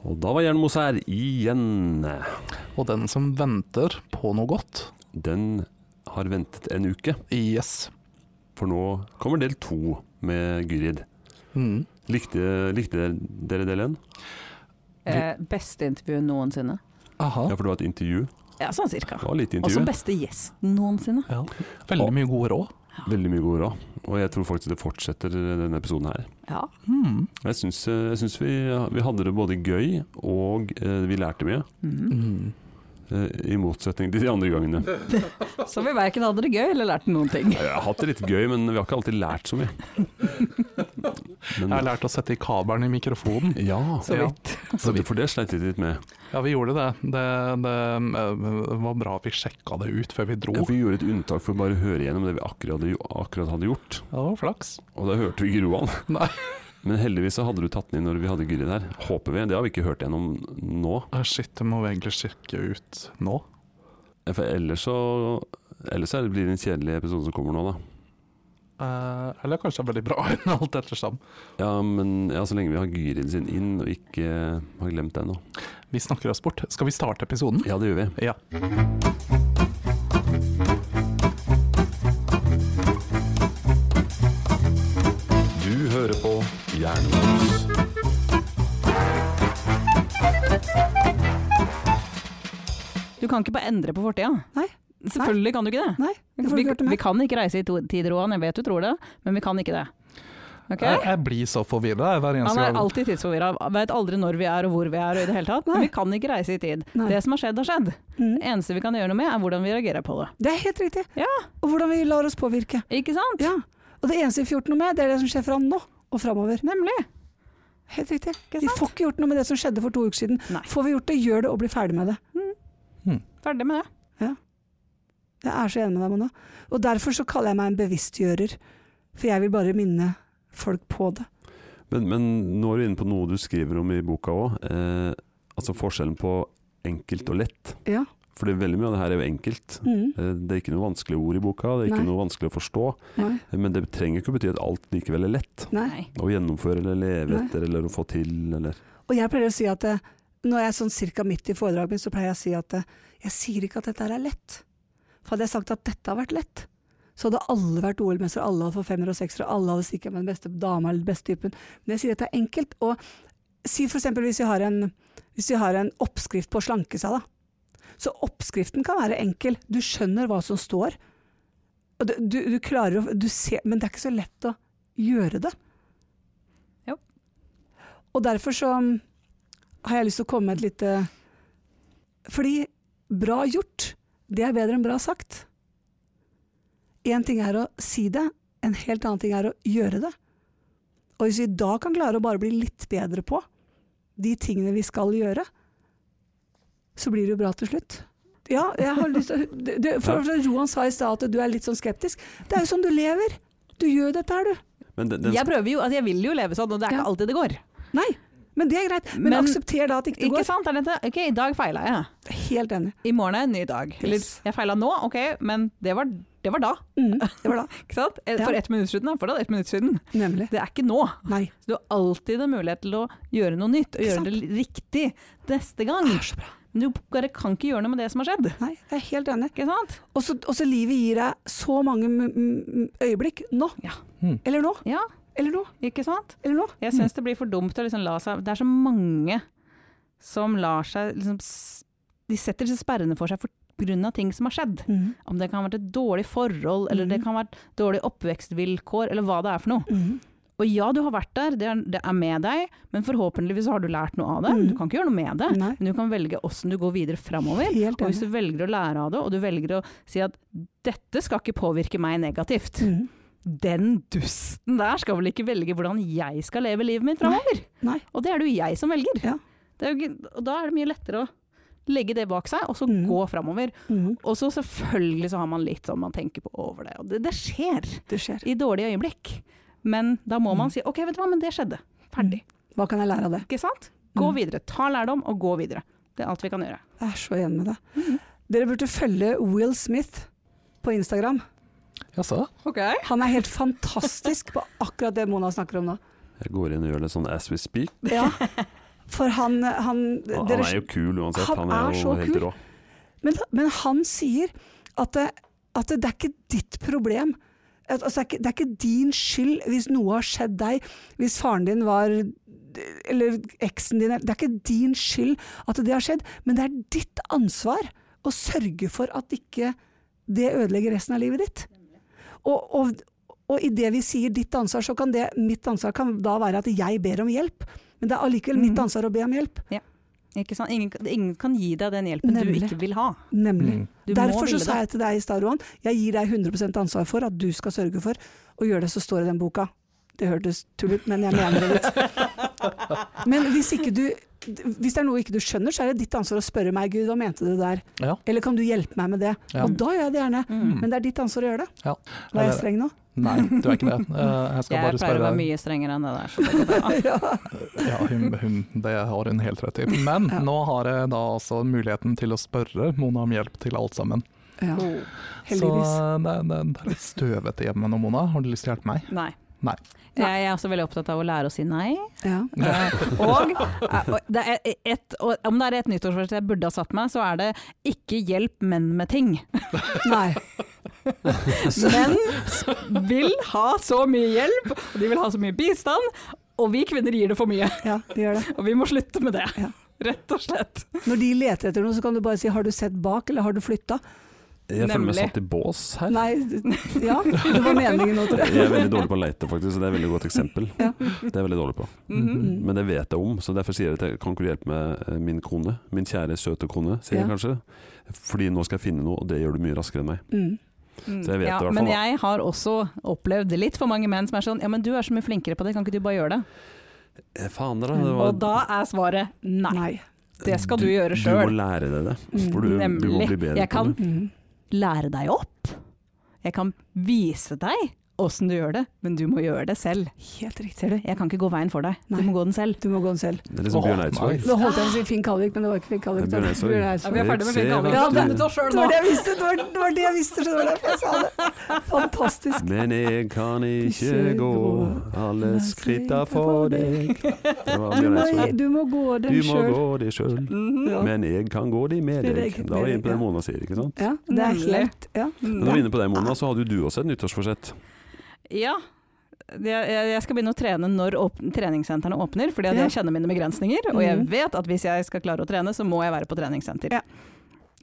Og da var Jernmos her igjen. Og den som venter på noe godt. Den har ventet en uke, Yes. for nå kommer del to med Gyrid. Mm. Likte, likte dere del én? Eh, beste intervju noensinne. Aha. Ja, for det var et intervju. Ja, sånn cirka. Det var lite Og som intervju. beste gjesten noensinne. Ja. Veldig mye gode råd. Veldig mye god råd. Og jeg tror faktisk det fortsetter eh, denne episoden her. Ja. Mm. Jeg syns, eh, jeg syns vi, vi hadde det både gøy og eh, vi lærte mye. Mhm. Mm. eh, I motsetning til de andre gangene. Så vi verken hadde det gøy eller lærte noen ting. Jeg har hatt det litt gøy, men vi har ikke alltid lært så mye. Jeg har Men, lært å sette i kabelen i mikrofonen. ja, Så Ja. vidt. for det- for det sleit vi litt med. Ja, vi gjorde det. Det, det eh, var bra vi sjekka det ut før vi dro. Ja, for vi gjorde et unntak for å bare høre gjennom det vi akkurat hadde, gjo- akkurat hadde gjort. Ja, det var flaks. Og da hørte vi ikke Roan. Nei. Men heldigvis så hadde du tatt den inn når vi hadde Gyrid her. Håper vi. Det har vi ikke hørt gjennom nå. Ah, Shit, det må vi egentlig sjekke ut nå. For ellers så Ellers så er det- blir det en kjedelig episode som kommer nå, da. Eh, eller kanskje det er veldig bra, alt ettersom. Ja, men ja, så lenge vi har Gyrid sin inn og ikke eh, har glemt den nå. Vi snakker oss bort. Skal vi starte episoden? Ja, det gjør vi. Ja. Du hører på Jernemos. Du kan ikke bare endre på fortida. Nei. Selvfølgelig kan du ikke det. Nei, det får du Vi, ikke gjort vi med. kan ikke reise i to- tid, Roan. Jeg vet du tror det, men vi kan ikke det. Ok? Jeg, jeg blir så forvirra hver eneste Han er gang. alltid tidsforvirra. Vet aldri når vi er og hvor vi er og i det hele tatt. Men vi kan ikke reise i tid. Nei. Det som har skjedd, har skjedd. Mm. Det eneste vi kan gjøre noe med, er hvordan vi reagerer på det. Det er helt riktig. Ja. Og hvordan vi lar oss påvirke. Ikke sant? Ja. Og det eneste vi får gjort noe med, det er det som skjer fra nå og framover. Nemlig. Helt riktig. Ikke Vi sant? får ikke gjort noe med det som skjedde for to uker siden. Nei. Får vi gjort det, gjør det og blir ferdig med det. Ferdig med det. Jeg er så enig med deg, Mona. Og derfor så kaller jeg meg en bevisstgjører. For jeg vil bare minne folk på det. Men, men nå er du inne på noe du skriver om i boka òg. Eh, altså forskjellen på enkelt og lett. Ja. For det er veldig mye av det her er jo enkelt. Mm. Eh, Det er ikke noe vanskelige ord i boka, det er ikke Nei. noe vanskelig å forstå. Eh, Nei. Men det trenger ikke å bety at alt likevel er lett Nei. å gjennomføre eller leve Nei. etter eller å få til. Eller. Og jeg pleier å si at eh, når jeg er sånn cirka midt i foredraget mitt, så pleier jeg å si at eh, jeg sier ikke at dette her er lett. For hadde jeg sagt at dette har vært lett, så hadde alle vært OL-mestere, alle hadde fått femmer og seksere, alle hadde stikket med den beste dama eller den beste typen. Men jeg sier at det er enkelt. Og si for eksempel hvis vi har en, hvis vi har en oppskrift på å slanke seg, da. Så oppskriften kan være enkel. Du skjønner hva som står. Og du, du, du klarer å du ser, Men det er ikke så lett å gjøre det. Jo. Og derfor så har jeg lyst til å komme med et lite Fordi bra gjort, det er bedre enn bra sagt. Én ting er å si det, en helt annen ting er å gjøre det. Og hvis vi da kan klare å bare bli litt bedre på de tingene vi skal gjøre, så blir det jo bra til slutt. Ja, jeg har lyst til å det, det, for, for Roan sa i stad at du er litt sånn skeptisk. Det er jo sånn du lever. Du gjør dette her, du. Men den, den, Jeg prøver jo, altså jeg vil jo leve sånn, og det er Ja. ikke alltid det går. Nei, men det er greit. Men, Men- aksepter da at ikke det Ikke går. sant? Er dette? Ok, i dag feila jeg. Helt enig. I morgen er en ny dag. Eller Yes. jeg feila nå, ok, men det var, det var da. Mm, det var da. Ikke sant? Eh, Ja. For ett minutt siden. da. For da, ett minutt siden. Nemlig. Det er ikke nå. Nei. Så du har alltid en mulighet til å gjøre noe nytt, og Ikke gjøre sant? det riktig neste gang. Ah, Det er så bra. Men du bare kan ikke gjøre noe med det som har skjedd. Nei, jeg er helt enig. Ikke sant? Og så og så livet gir deg så mange m- m- øyeblikk. Nå. Ja. Hmm. Mm. Eller nå. Ja, Eller nå. ikke sant? Eller nå. Jeg syns det blir for dumt å liksom la seg Det er så mange som lar seg liksom s- De setter disse sperrene for seg for grunn av ting som har skjedd. Mhm. Om det kan ha vært et dårlig forhold, eller det Mhm. kan ha vært dårlige oppvekstvilkår, eller hva det er for noe. Mhm. Og ja, du har vært der, det er, det er med deg, men forhåpentligvis har du lært noe av det. Mhm. Du kan ikke gjøre noe med det, Nei. men du kan velge åssen du går videre framover. Helt Og hvis du enig. velger å lære av det, og du velger å si at dette skal ikke påvirke meg negativt, Mhm. den dusten der skal vel ikke velge hvordan jeg skal leve livet mitt framover? Nei. Og det er det jo jeg som velger. Ja. Det er jo, ikke- og da er det mye lettere å legge det bak seg, og så Mhm. gå framover. Mhm. Og så selvfølgelig så har man litt sånn man tenker på over det, og det, det skjer Det skjer. i dårlige øyeblikk. Men da må Mm. man si ok, vet du hva, men det skjedde. Ferdig. Hva kan jeg lære av det? Ikke sant? Gå Mm. videre. Ta lærdom og gå videre. Det er alt vi kan gjøre. Jeg er så enig med deg. Dere burde følge Will Smith på Instagram. Jaså? Han er helt fantastisk på akkurat det Mona snakker om nå. jeg går inn og gjør det sånn as we speak. Ja. For han, han, Han, dere- han er jo kul uansett. Han, Han er, er jo så helt kul. rå. men, men han sier at det, at det, det er ikke ditt problem. At, altså, det, er ikke, det er ikke din skyld hvis noe har skjedd deg, hvis faren din var Eller eksen din Det er ikke din skyld at det har skjedd, men det er ditt ansvar å sørge for at ikke det ødelegger resten av livet ditt. Og, og, og i det vi sier ditt ansvar, så kan det mitt ansvar kan da være at jeg ber om hjelp. Men det er allikevel mitt Mhm. ansvar å be om hjelp. Ikke sant? Ingen, ingen kan gi deg den hjelpen du Nemlig. ikke vil ha. Nemlig. Mm. Du må Derfor så ville sa det. jeg til deg i stad, Roan, jeg gir deg 100 ansvar for at du skal sørge for å gjøre det som står i den boka. Det hørtes tull ut, men jeg mener det litt. Men hvis, ikke du, hvis det er noe ikke du skjønner, så er det ditt ansvar å spørre meg, Gud, hva mente du der? Ja. Eller kan du hjelpe meg med det? Ja. Og da gjør jeg det gjerne. Mm. Men det er ditt ansvar å gjøre det. Ja. Var jeg Eller- streng nå? Nei, du er ikke det. Eh, Jeg skal bare Jeg pleier å spørre deg. være mye strengere enn det der. Så det går bra. Ja. Ja, hun, hun, det har hun helt rett i. Men Ja. nå har jeg da altså muligheten til å spørre Mona om hjelp til alt sammen. ja. Oh. Heldigvis. Så det, det, det er litt støvete hjemme nå, Mona. Har du lyst til å hjelpe meg? Nei. Nei. Jeg er også veldig opptatt av å lære å si nei. Ja. Eh, og, eh, og det er et, og om det er et nyttårsforsett jeg burde ha satt meg, så er det 'ikke hjelp menn med ting'. Nei. Menn s- vil ha så mye hjelp, og de vil ha så mye bistand, og vi kvinner gir det for mye. Ja, det gjør det. Og vi må slutte med det. Ja. Rett og slett. Når de leter etter noe, så kan du bare si 'har du sett bak', eller 'har du flytta'? Jeg føler meg Nemlig. satt i bås her. Nei, ja. Det var meningen nå, tror jeg. Jeg er veldig dårlig på å leite, faktisk. så Det er et veldig godt eksempel. Ja. Det er jeg veldig dårlig på. Mhm. Men det vet jeg om, så derfor sier jeg at jeg kan ikke du hjelpe med eh, min kone. Min kjære, søte kone, sier jeg Ja. kanskje. Fordi nå skal jeg finne noe, og det gjør du mye raskere enn meg. Mm. Mm. Så jeg vet ja, det i hvert men fall, da. jeg har også opplevd litt for mange menn som er sånn 'ja, men du er så mye flinkere på det, kan ikke du bare gjøre det'? Eh, Faen dere, det var Mm, Og da er svaret nei. Nei. det skal du gjøre Du selv. må lære deg det. Mm, For du, du må nemlig. bli bedre Jeg kan- på det. Mm. lære deg opp. Jeg kan vise deg åssen du gjør det, men du må gjøre det selv. Helt riktig. Ser du, jeg kan ikke gå veien for deg. Du Nei. må gå den selv. Du må gå den selv. Det er liksom Åh, Bjørn Eidsvåg. nice. Nå holdt jeg på å si Finn Kalvik, men det var ikke Finn Kalvik. Det er Bjørn Eidsvåg. Eidsvåg. vi er ferdig med Finn Kalvik. Ja, funnet oss sjøl Det var det jeg visste! Det var det, var det jeg visste, så det var derfor jeg sa det. Fantastisk. Men jeg kan ikke Ikke gå gå alle skritta for deg. Det var Du Bjørn må, Eidsvåg. du må gå Du den må sjøl. gå de sjøl, Ja. men jeg kan gå de med Det er deg. eget Da er vi med inne på det deg, ja. Mona sier, ikke sant. Ja, det er Nemlig. helt ja. Men når vi er inne på det, Mona, så hadde jo du også et nyttårsforsett. Ja. Jeg, jeg jeg skal begynne å trene når åp treningssentrene åpner, fordi at Ja. jeg kjenner mine begrensninger. Og jeg Mhm. vet at hvis jeg skal klare å trene, så må jeg være på treningssenter. Ja.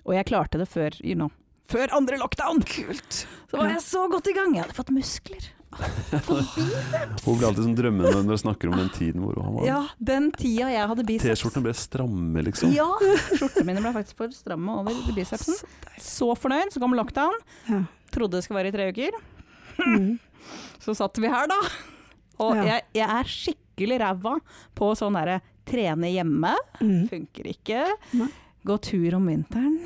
Og jeg klarte det før, you know. Før andre lockdown! Kult. Så var Ja. jeg så godt i gang. Jeg hadde fått muskler. Hun ble alltid sånn drømmende når dere snakker om den tiden hvor han var Ja, den tida jeg hadde biceps. T-skjortene ble stramme, liksom. Ja, skjortene mine ble faktisk for stramme over bicepsen. Så fornøyd, så kom lockdown. Ja. Trodde det skulle være i tre uker. Mm. Så satt vi her, da. Og Ja. jeg, jeg er skikkelig ræva på sånn derre trene hjemme. Mm. Funker ikke. Nei. Gå tur om vinteren.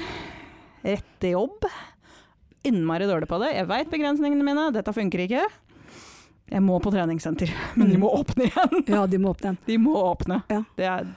Rette jobb. Innmari dårlig på det. Jeg veit begrensningene mine, dette funker ikke. Jeg må på treningssenter, men de må åpne igjen! ja, de må åpne en. De må åpne. Ja. Det er,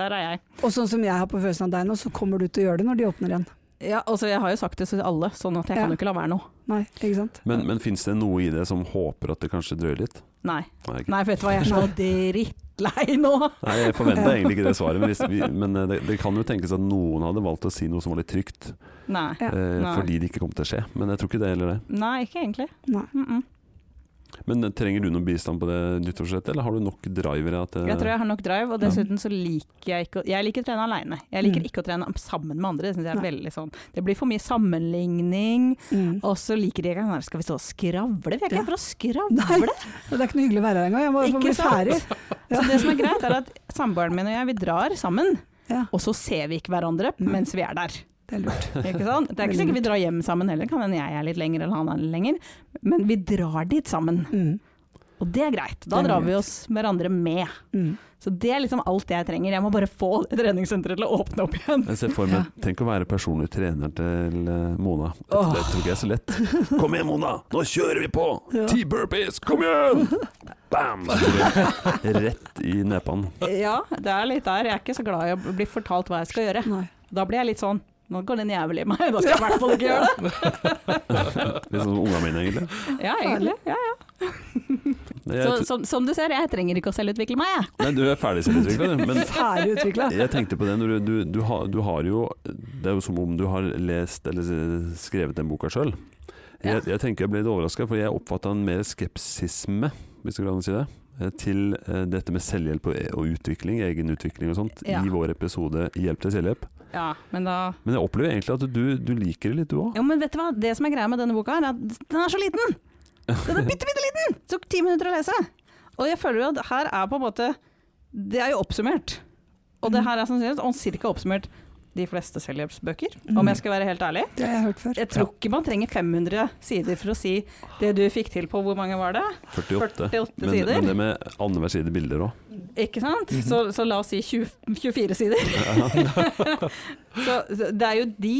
der er jeg. Og sånn som jeg har på følelsen av deg nå, så kommer du til å gjøre det når de åpner igjen. Ja, altså Jeg har jo sagt det til alle, sånn at jeg Ja. kan jo ikke la være nå. Nei, ikke sant? Men, men fins det noe i det som håper at det kanskje drøyer litt? Nei. Nei, ikke. Nei, for vet du hva, jeg er så drittlei nå! Nei jeg forventa egentlig ikke det svaret, men, hvis vi, men eh, det, det kan jo tenkes at noen hadde valgt å si noe som var litt trygt, Nei. Ja. eh, Nei. fordi det ikke kom til å skje. Men jeg tror ikke det heller, det. Nei, ikke egentlig. Nei. Mm -mm. Men eh, trenger du noe bistand på det nyttårsforsettet, eller har du nok drivere at eh, Jeg tror jeg har nok drive, og Ja. dessuten så liker jeg ikke å Jeg liker å trene aleine. Jeg liker ikke å trene sammen med andre. Det synes jeg er Mm. Nei. veldig sånn Det blir for mye sammenligning. Mm. Og så liker jeg ikke den der, Skal vi stå og skravle? Vi er ikke Ja. her for å Nei, skravle! det er ikke noe hyggelig å være her engang. Jeg må i hvert Ikke fall bli ferdig. Så det som er greit, er at samboeren min og jeg, vi drar sammen. Ja, Og så ser vi ikke hverandre Nei. mens vi er der. det er lurt. Ikke sant? Det er ikke sikkert vi drar hjem sammen heller, kan hende jeg er litt lenger eller han er litt lenger. Men vi drar dit sammen, Mm. og det er greit. Da Det er drar vi greit. oss hverandre med. Mm. Så det er liksom alt jeg trenger. Jeg må bare få treningssenteret til å åpne opp igjen. Jeg ser for meg, Tenk å være personlig trener til eh, Mona. Det, Åh. det tror ikke jeg er så lett. Kom igjen, Mona! Nå kjører vi på! Ja. Ti burpees! Kom igjen! Bam! Rett i nepan. Ja, det er litt der. Jeg er ikke så glad i å bli fortalt hva jeg skal gjøre. Nei. Da blir jeg litt sånn nå går den jævel i meg, da skal jeg i hvert fall ikke gjøre det. Litt sånn som ungene mine, egentlig. Ja, egentlig. Ja, ja. Jeg, Så, som, som du ser, jeg trenger ikke å selvutvikle meg, jeg. nei, du er ferdig selvutvikla, du. Men Ferdig utvikla. jeg tenkte på det når du, du, du, har, du har jo Det er jo som om du har lest eller s- skrevet den boka sjøl. Jeg, jeg tenker jeg ble litt overraska, for jeg oppfatta en mer skepsisme, hvis det går an å si det, eh, til eh, dette med selvhjelp og, og utvikling, egenutvikling og sånt, Ja. i vår episode 'Hjelp til selvhjelp'. Ja, men da Men jeg opplever egentlig at du, du liker det litt, du òg. Jo, men vet du hva? Det som er greia med denne boka, er at den er så liten! Den er bitte, bitte liten! Det tok ti minutter å lese. Og jeg føler jo at her er på en måte Det er jo oppsummert. Og det her er sannsynligvis om cirka oppsummert de fleste selvhjelpsbøker, om jeg skal være helt ærlig. Det har jeg hørt før. Jeg tror ikke man trenger 500 sider for å si det du fikk til på hvor mange var det, 48. 48 men, sider. men Mhm. det med annenhver side bilder òg. ikke sant? Så, så la oss si 20, 24 sider. så, så det er jo de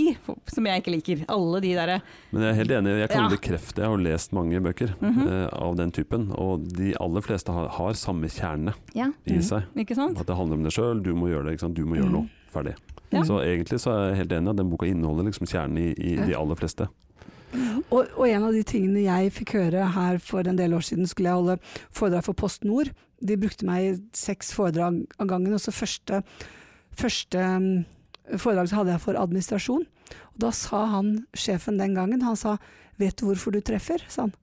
som jeg ikke liker. Alle de derre Men jeg er helt enig, jeg kan Ja. bekrefte, jeg har lest mange bøker Mhm. eh, av den typen, og de aller fleste har, har samme kjerne Ja, i Mhm. seg. ikke sant? At det handler om deg sjøl, du må gjøre det, ikke sant? du må gjøre Mhm. noe. Ferdig. Ja. Så egentlig så er jeg helt enig, at den boka inneholder liksom kjernen i, i de aller fleste. Og, og en av de tingene jeg fikk høre her for en del år siden, skulle jeg holde foredrag for Post Nord. De brukte meg i seks foredrag av gangen, og så første, første mm, foredrag så hadde jeg for administrasjon. Og da sa han, sjefen den gangen, han sa 'vet du hvorfor du treffer', sa han.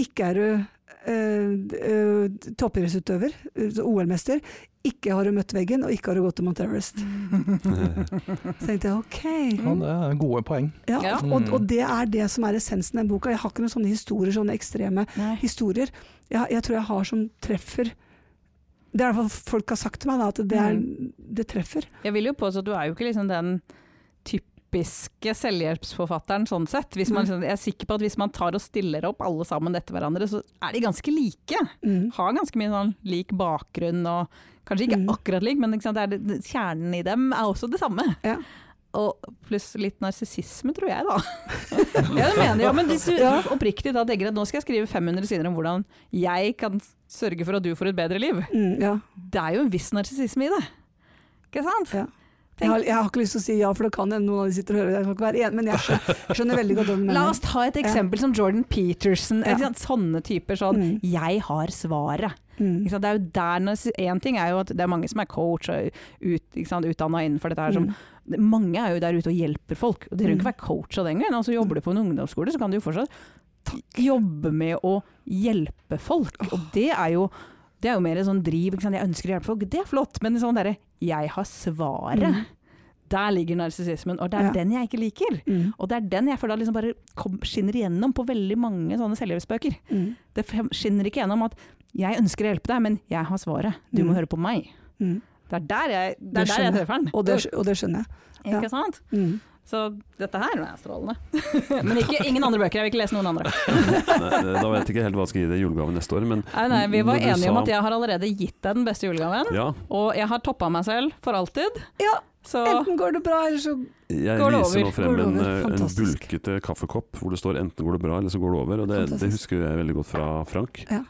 Ikke er du eh, eh, toppidrettsutøver, eh, OL-mester. Ikke har du møtt veggen, og ikke har du gått til Mount Everest. Så tenkte jeg ok. Ja, det er gode poeng. Ja, Ja. Og, og det er det som er essensen i den boka. Jeg har ikke noen sånne historier, sånne ekstreme historier. Jeg, jeg tror jeg har som treffer Det er i hvert fall folk har sagt til meg, da, at det, er, Mm. det treffer. Jeg vil jo påstå at du er jo ikke liksom den typiske selvhjelpsforfatteren sånn sett. Hvis man, jeg er sikker på at hvis man tar og stiller opp alle sammen etter hverandre, så er de ganske like. Mm. Har ganske mye sånn lik bakgrunn og kanskje ikke Mm. akkurat lik, men ikke sant? Det er det, det, kjernen i dem er også det samme. Ja. Og pluss litt narsissisme, tror jeg da. ja, det mener jeg. Men hvis du oppriktig da tenker at nå skal jeg skrive 500 sider om hvordan jeg kan sørge for at du får et bedre liv, Mm, ja. det er jo en viss narsissisme i det. Ikke sant? Ja. Jeg, har, jeg har ikke lyst til å si ja, for det kan hende noen av de sitter og hører. Jeg kan ikke være en, men jeg skjønner, skjønner veldig godt hva du La mener. oss ta et eksempel som Jordan Peterson. Ja. Ikke sant? Sånne typer sånn Mm. 'jeg har svaret'. Mm. Ikke sant? Det er jo der når- En ting er jo at det er mange som er coach og ut, ikke sant, utdanna innenfor dette her. Som, Mange er jo der ute og hjelper folk. Og det trenger ikke Mm. være coach av den grunn. Altså, jobber du på en ungdomsskole, så kan du jo fortsatt jobbe med å hjelpe folk. Og det er jo det er jo mer sånn driv. Ikke sant? Jeg ønsker å hjelpe folk, det er flott. Men sånn derre 'jeg har svaret', Mm. der ligger narsissismen. Og det er Ja. den jeg ikke liker. Mm. Og det er den jeg føler liksom bare kom, skinner igjennom på veldig mange sånne selvhjelpsbøker. Mm. Det frem- skinner ikke gjennom at jeg ønsker å hjelpe deg, men jeg har svaret. Du må Mm. høre på meg. Mm. Det er der jeg, det Det er der jeg skjønner jeg. treffer den. Og, det, skj- og det skjønner jeg. ja. Ikke sant? Mm. Så dette her er strålende. men ikke, ingen andre bøker. Jeg vil ikke lese noen andre. Nei, eh, da vet jeg ikke helt hva jeg skal gi deg i julegave neste år, men Nei, nei, vi var Når du enige om sa- at jeg har allerede gitt deg den beste julegaven. ja. Og jeg har toppa meg selv for alltid. Ja, Så enten går det bra, eller så Jeg Går det viser over? nå frem Går det en, over? eh, en Fantastisk. bulkete kaffekopp hvor det står enten går det bra, eller så går det over. Og det, det Fantastisk. husker jeg veldig godt fra Frank.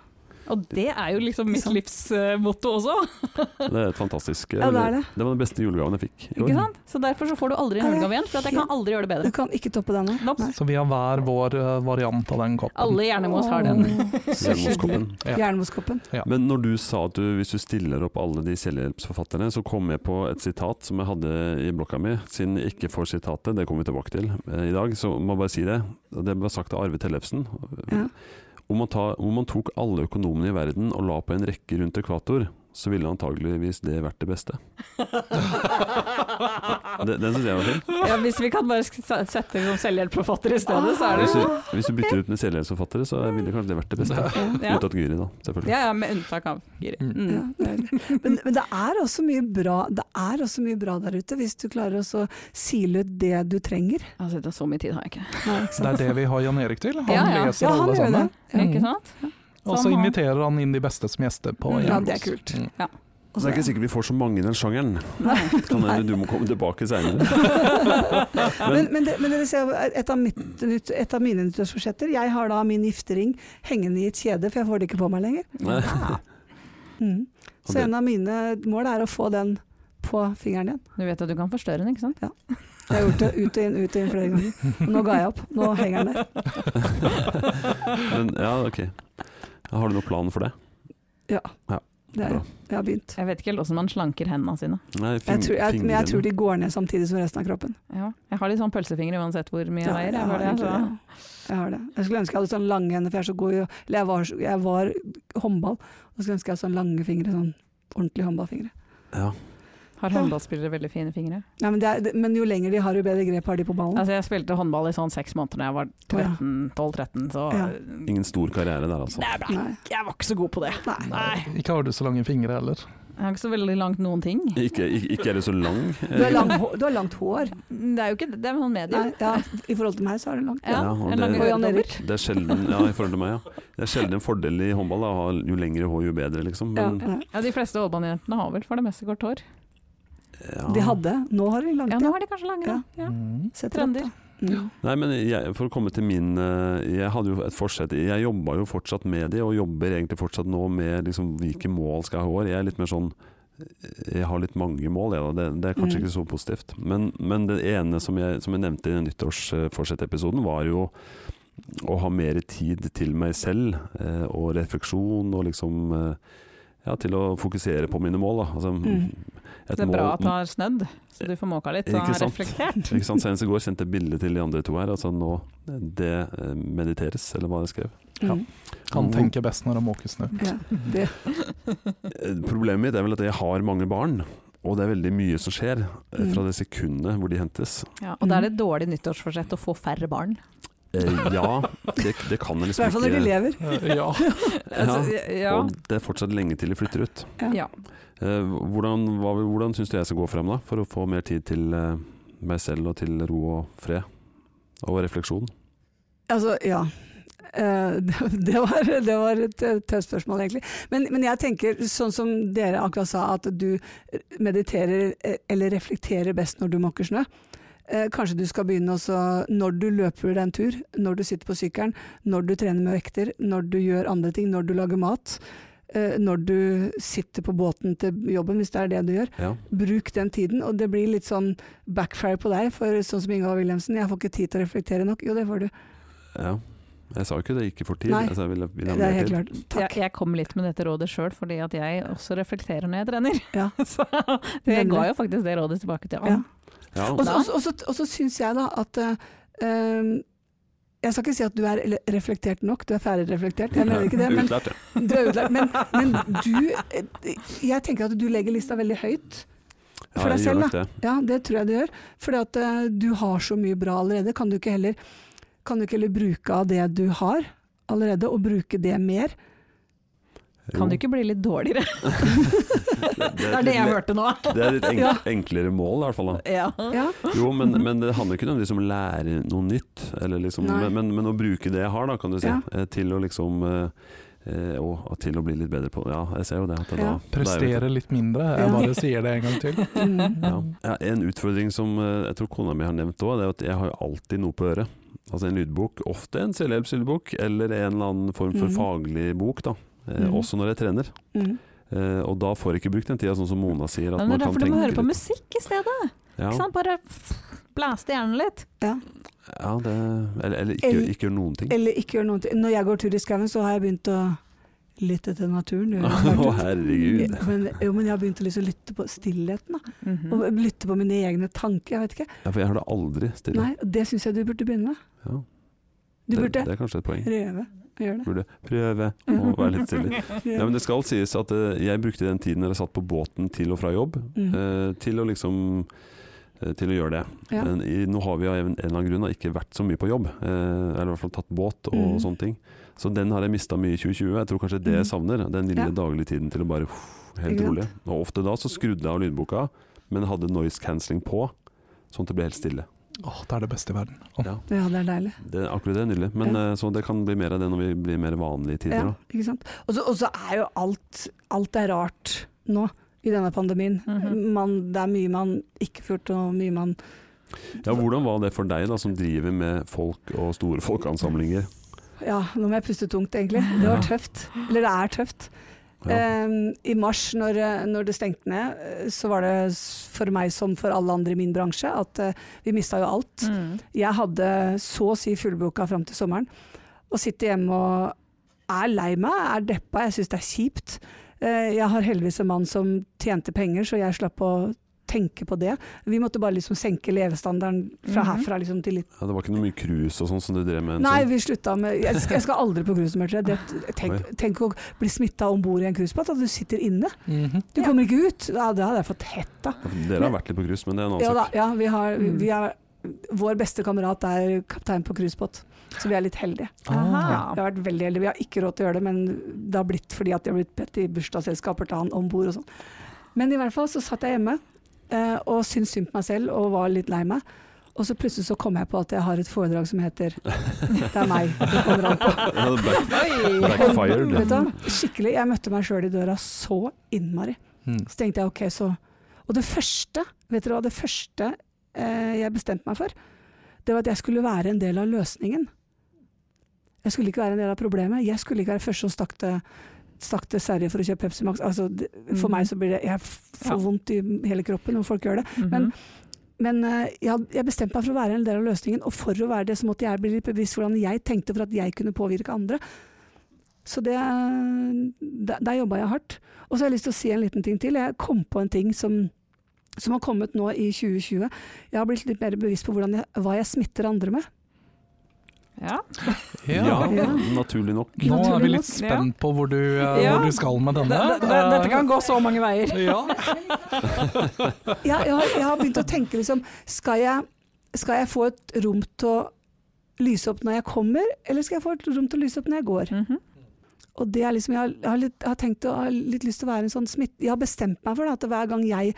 Og det er jo liksom mitt Sant. livsmotto også. Det er et fantastisk eh, Ja, det er det. var den beste julegaven jeg fikk i Ikke år. sant? Så derfor så får du aldri en Nei, julegave igjen, for at jeg kan aldri gjøre det Du bedre. kan ikke toppe denne. Nope. Så vi har hver vår eh, variant av den koppen. Alle i Hjernemos har den. Hjernevåskoppen. Ja. Jernmoskoppen. Men når du sa at du, hvis du stiller opp alle de selvhjelpsforfatterne, så kom jeg på et sitat som jeg hadde i blokka mi. Siden jeg ikke får sitatet, det kommer vi tilbake til eh, i dag, så må jeg bare si det. Det ble sagt av Arve Tellefsen. Ja. Om, man ta, om man tok alle økonomene i verden og la på en rekke rundt ekvator, så ville antageligvis det vært det beste. Det, den syns jeg var fin. Ja, hvis vi kan bare sk- sa- sette som selvhjelpforfatter i stedet, så er det Hvis du, hvis du bytter ut med selvhjelpsforfattere, så ville kanskje det vært det beste. Ja, Unntatt Gyri, da, selvfølgelig. ja, ja med unntak av Giri. Mm. Ja, Mm. det er det. men, men det er også mye bra Det er også mye bra der ute, hvis du klarer også å sile ut det du trenger. Altså, det er så mye tid har jeg ikke. Nei, ikke Det sant? er det vi har Jan Erik til. Han Ja, ja. leser Ja, han alle gjør det. sammen. Ikke Mm. sant? Og så Som han- inviterer han inn de beste som gjester på Ja, Hjernemos. det er kult. Mm. Så det er ikke sikkert vi får så mange i den sjangeren. Nei. Kan hende du må komme tilbake seinere. men, men, det, men dere ser, et av, mitt, et av mine nyttårsforsetter Jeg har da min giftering hengende i et kjede, for jeg får det ikke på meg lenger. Mm. Så en av mine mål er å få den på fingeren igjen. Du vet at du kan forstørre den, ikke sant? Jeg har gjort det ut og inn, ut og inn flere ganger. Nå ga jeg opp. Nå henger den der. Men, ja, ok. Har du noen plan for det? Det er, Bra. jeg har begynt. Jeg vet ikke helt hvordan man slanker hendene sine. Nei, Jeg fing- tror, jeg, men jeg fingrene. tror de går ned samtidig som resten av kroppen. Ja. Jeg har litt sånn pølsefingre uansett hvor mye jeg veier. jeg, Jeg har har det, egentlig det, altså. ja. jeg har det. Jeg skulle ønske jeg hadde sånne lange hender, for jeg er så god i å Eller jeg var, så- jeg var håndball, og skulle ønske jeg hadde sånne lange fingre. Sånn ordentlige håndballfingre. ja. Har håndballspillere veldig fine fingre? Nei, men, det er, det, men jo lenger de har, jo bedre grep har de på ballen. Altså, jeg spilte håndball i sånn seks måneder da jeg var 13, 12-13, så Ja. Sånn. Ingen stor karriere der, altså. det er bra. Nei. Jeg var ikke så god på det. Nei. Nei. Ikke har du så lange fingre heller. Jeg har ikke så veldig langt noen ting. Ikke, ikke, ikke er du så lang. Du, har lang, hå- du har langt hår. Det er jo ikke det, er sånn medium. Nei, ja, I forhold til meg så er det langt. Ja, Ja, og en det- lang Og Jan Erik. Det er sjelden ja, i forhold til meg, ja. Det er sjelden en fordel i håndball da, å ha jo lengre hår, jo bedre, liksom. Ja, Men, nei. Ja, De fleste håndballjentene har vel for det meste kort hår. ja. De hadde. Nå har de langt. Ja, Ja, nå har de kanskje langere. Ja. Mm. Setter opp, Trender. da. Mm. Nei, men jeg, for å komme til min eh, Jeg hadde jo et forsett Jeg jobba jo fortsatt med det, og jobber egentlig fortsatt nå med liksom, hvilke mål skal jeg ha i år. Jeg er litt mer sånn eh, Jeg har litt mange mål, jeg, da. Det, det er kanskje Mm. ikke så positivt. Men, men det ene som jeg, som jeg nevnte i den nyttårsforsettepisoden, var jo å ha mer tid til meg selv, eh, og refleksjon, og liksom eh, Ja, til å fokusere på mine mål, da. Altså, Mm. et Det er bra mål- at det har snødd, så du får måka litt og Ikke har sant? reflektert. Ikke sant? Senest i går sendte jeg bilde til de andre to her. Altså nå Det eh, mediteres, eller hva jeg skrev. Mm. Kan Hvor- tenke best når det måker snø. Ja. Eh, Problemet mitt er vel at jeg har mange barn, og det er veldig mye som skjer eh, Mm. fra det sekundet hvor de hentes. Ja, og da er det et dårlig nyttårsforsett å få færre barn. Eh, Ja, det, det kan jeg I hvert liksom fall altså, når de ikke lever. Eh, Ja. ja, ja. Og det er fortsatt lenge til de flytter ut. ja. Eh, Hvordan, hva, hvordan syns du jeg skal gå frem da, for å få mer tid til eh, meg selv og til ro og fred? Og refleksjon. Altså, ja. Eh, Det var, det var et eh, tøft spørsmål, egentlig. Men, men jeg tenker, sånn som dere akkurat sa, at du mediterer eh, eller reflekterer best når du måker snø. Eh, Kanskje du skal begynne også når du løper deg en tur, når du sitter på sykkelen, når du trener med vekter, når du gjør andre ting, når du lager mat, eh, når du sitter på båten til jobben, hvis det er det du gjør Ja. bruk den tiden. Og det blir litt sånn backfire på deg, for sånn som Ingvar Wilhelmsen, jeg får ikke tid til å reflektere nok. Jo, det får du. ja. Jeg sa jo ikke det ikke for tid. Nei, altså, jeg ville, ville ha Det er mer helt tid. klart. Jeg, Takk. jeg kom litt med dette rådet sjøl, fordi at jeg også reflekterer når jeg trener. Ja. Så jeg Nemlig. ga jo faktisk det rådet tilbake til Ja. han. Ja, Og så- Og så- og så- og så syns jeg da at eh, ehm, jeg skal ikke si at du er ele- reflektert nok, du er ferdig reflektert, jeg mener ikke det, men Utlært, ja. du er utlært. Men, men du eh, Jeg tenker at du legger lista veldig høyt. for Ja, deg jeg selv, gjør nok det. Ja, det tror jeg du gjør. Fordi at eh, du har så mye bra allerede. Kan du ikke heller, kan du ikke heller bruke av det du har allerede, og bruke det mer? Jo. Kan du ikke bli litt dårligere? Det Det er det jeg hørte nå. Mm. Det er et enk enklere mål, i hvert fall. Da. Ja. Ja. Jo, men, Mhm. men det handler ikke nødvendigvis om å lære noe nytt, eller liksom, Nei. men, men, men å bruke det jeg har, da, kan du si, Ja. eh, til å liksom eh, eh, og, og til å bli litt bedre på Ja, jeg ser jo det. At det Ja. da, det er Prestere jo- litt mindre, Ja. jeg bare sier det en gang til. Mm. Ja. Ja, en utfordring som eh, jeg tror kona mi har nevnt òg, det er at jeg har jo alltid noe på øret. Altså en lydbok, ofte en selvhjelpslydbok, eller en eller annen form for Mhm. faglig bok, da. Eh, Mhm. Også når jeg trener. Mm. Eh, og da får jeg ikke brukt den tida, sånn som Mona sier. At Men det man er kan derfor du må tenke høre på litt. musikk i stedet. Ja. Ikke sant? Bare f- blæste hjernen litt. Ja, det, eller, eller ikke, Eller- ikke gjør noen ting. Eller ikke gjør noen ting. Når jeg går tur i skauen, så har jeg begynt å lytte til naturen. Det Å, høres rart ut. herregud. Men, jo, men jeg har begynt å liksom lytte på stillheten, da. Mm. og lytte på mine egne tanker. Jeg vet ikke. Ja, for jeg har det aldri stille. Nei, Det syns jeg du burde begynne med. Ja. Du det, burde det er kanskje et poeng. prøve å gjøre det. Burde prøve å være litt stille. Prøve. Nei, men det skal sies at eh, jeg brukte den tiden jeg satt på båten til og fra jobb, Mm. Mhm. eh, til å liksom eh, til å gjøre det. Ja. Men i, nå har vi av en en eller annen grunn da ikke vært så mye på jobb, eh, eller i hvert fall tatt båt og Mhm. sånne ting. Så den har jeg mista mye i 2020. Jeg tror kanskje det jeg savner, den lille Mm. Ja. daglige tiden til å bare uff, helt Ikke sant? rolig. Og ofte da så skrudde jeg av lydboka, men hadde noise cancelling på, sånn at det ble helt stille. Åh, det er det beste i verden. Åh. Ja. Ja, det er deilig. Det, akkurat det er nydelig, men eh, så det kan bli mer av det når vi blir mer vanlige tider. Ja, da. ikke sant? Og så- og så er jo alt Alt er rart nå i denne pandemien. Mhm. man, det er mye man ikke får til, og mye man Ja, hvordan var det for deg da, som driver med folk og store folkeansamlinger? Ja, nå må jeg puste tungt, egentlig. Det var Ja. tøft. Eller det er tøft. Ja. Ehm, I mars, når, eh, når det stengte ned, eh, så var det s- for meg som for alle andre i min bransje at eh, vi mista jo Mm. alt. Mhm. Jeg hadde så å si fullboka fram til sommeren. Å sitte hjemme og er lei meg, er deppa, jeg syns det er kjipt. Eh, Jeg har heldigvis en mann som tjente penger, så jeg slapp å tenke på det. Vi måtte bare liksom senke levestandarden fra Mhm. herfra liksom til litt Ja, det var ikke noe mye cruise og sånn som du drev med? en Nei, sånn- vi slutta med Jeg skal, jeg skal aldri på cruisemørtere. Det- Tenk, tenk å bli smitta om bord i en cruisebåt, at du sitter inne. Du Ja. kommer ikke ut. Ja, det hadde jeg fått hett av. sånn. Dere har vært litt på cruise, men det er en annen Ja da, sak. ja, vi har, vi, Mm. vi har, vår beste kamerat er kaptein på cruisebåt, så vi er litt heldige. Ah. Aha. Vi har vært veldig heldige. Vi har ikke råd til å gjøre det, men det har blitt fordi at de har blitt bedt i bursdagsselskaper til han om bord og sånn. Men i hvert fall så satt jeg hjemme eh, og syntes synd på meg selv og var litt lei meg. Og så plutselig så kom jeg på at jeg har et foredrag som heter 'Det er meg'. Det kommer an på. Ja, det ble- Oi! Backfired. Vet du, hva? skikkelig, jeg møtte meg sjøl i døra så innmari. Mm. Så tenkte jeg ok, så Og det første, vet dere hva, det første eh, jeg bestemte meg for, det var at jeg skulle være en del av løsningen. Jeg skulle ikke være en del av problemet. Jeg skulle ikke være første som stakk til stakk til Sverige for å kjøpe Pepsi Max. Altså, det, for Mhm. meg så blir det Jeg f- Ja. får vondt i hele kroppen når folk gjør det. Men Men eh, jeg, had- jeg bestemte meg for å være en del av løsningen, og for å være det så måtte jeg bli litt bevisst hvordan jeg tenkte for at jeg kunne påvirke andre. Så det, eh, der, der jobba jeg hardt. Og så har jeg lyst til å si en liten ting til. Jeg kom på en ting som, som har kommet nå i 2020. Jeg har blitt litt mer bevisst på hvordan jeg, hva jeg smitter andre med. ja. Ja, Ja. Ja. naturlig nok. Nå er vi Naturlig litt nok. spent på hvor du, eh, Ja. hvor du skal med denne. Eh, Det- det- Dette kan gå så mange veier. Ja. Jeg, jeg, har, jeg har begynt å tenke liksom skal jeg, skal jeg få et rom til å lyse opp når jeg kommer, eller skal jeg få et rom til å lyse opp når jeg går? Mm-hmm. Og det er liksom, jeg har, jeg har, litt, jeg har tenkt å, jeg har litt lyst til å være en sånn smitt... Jeg har bestemt meg for det, at hver gang jeg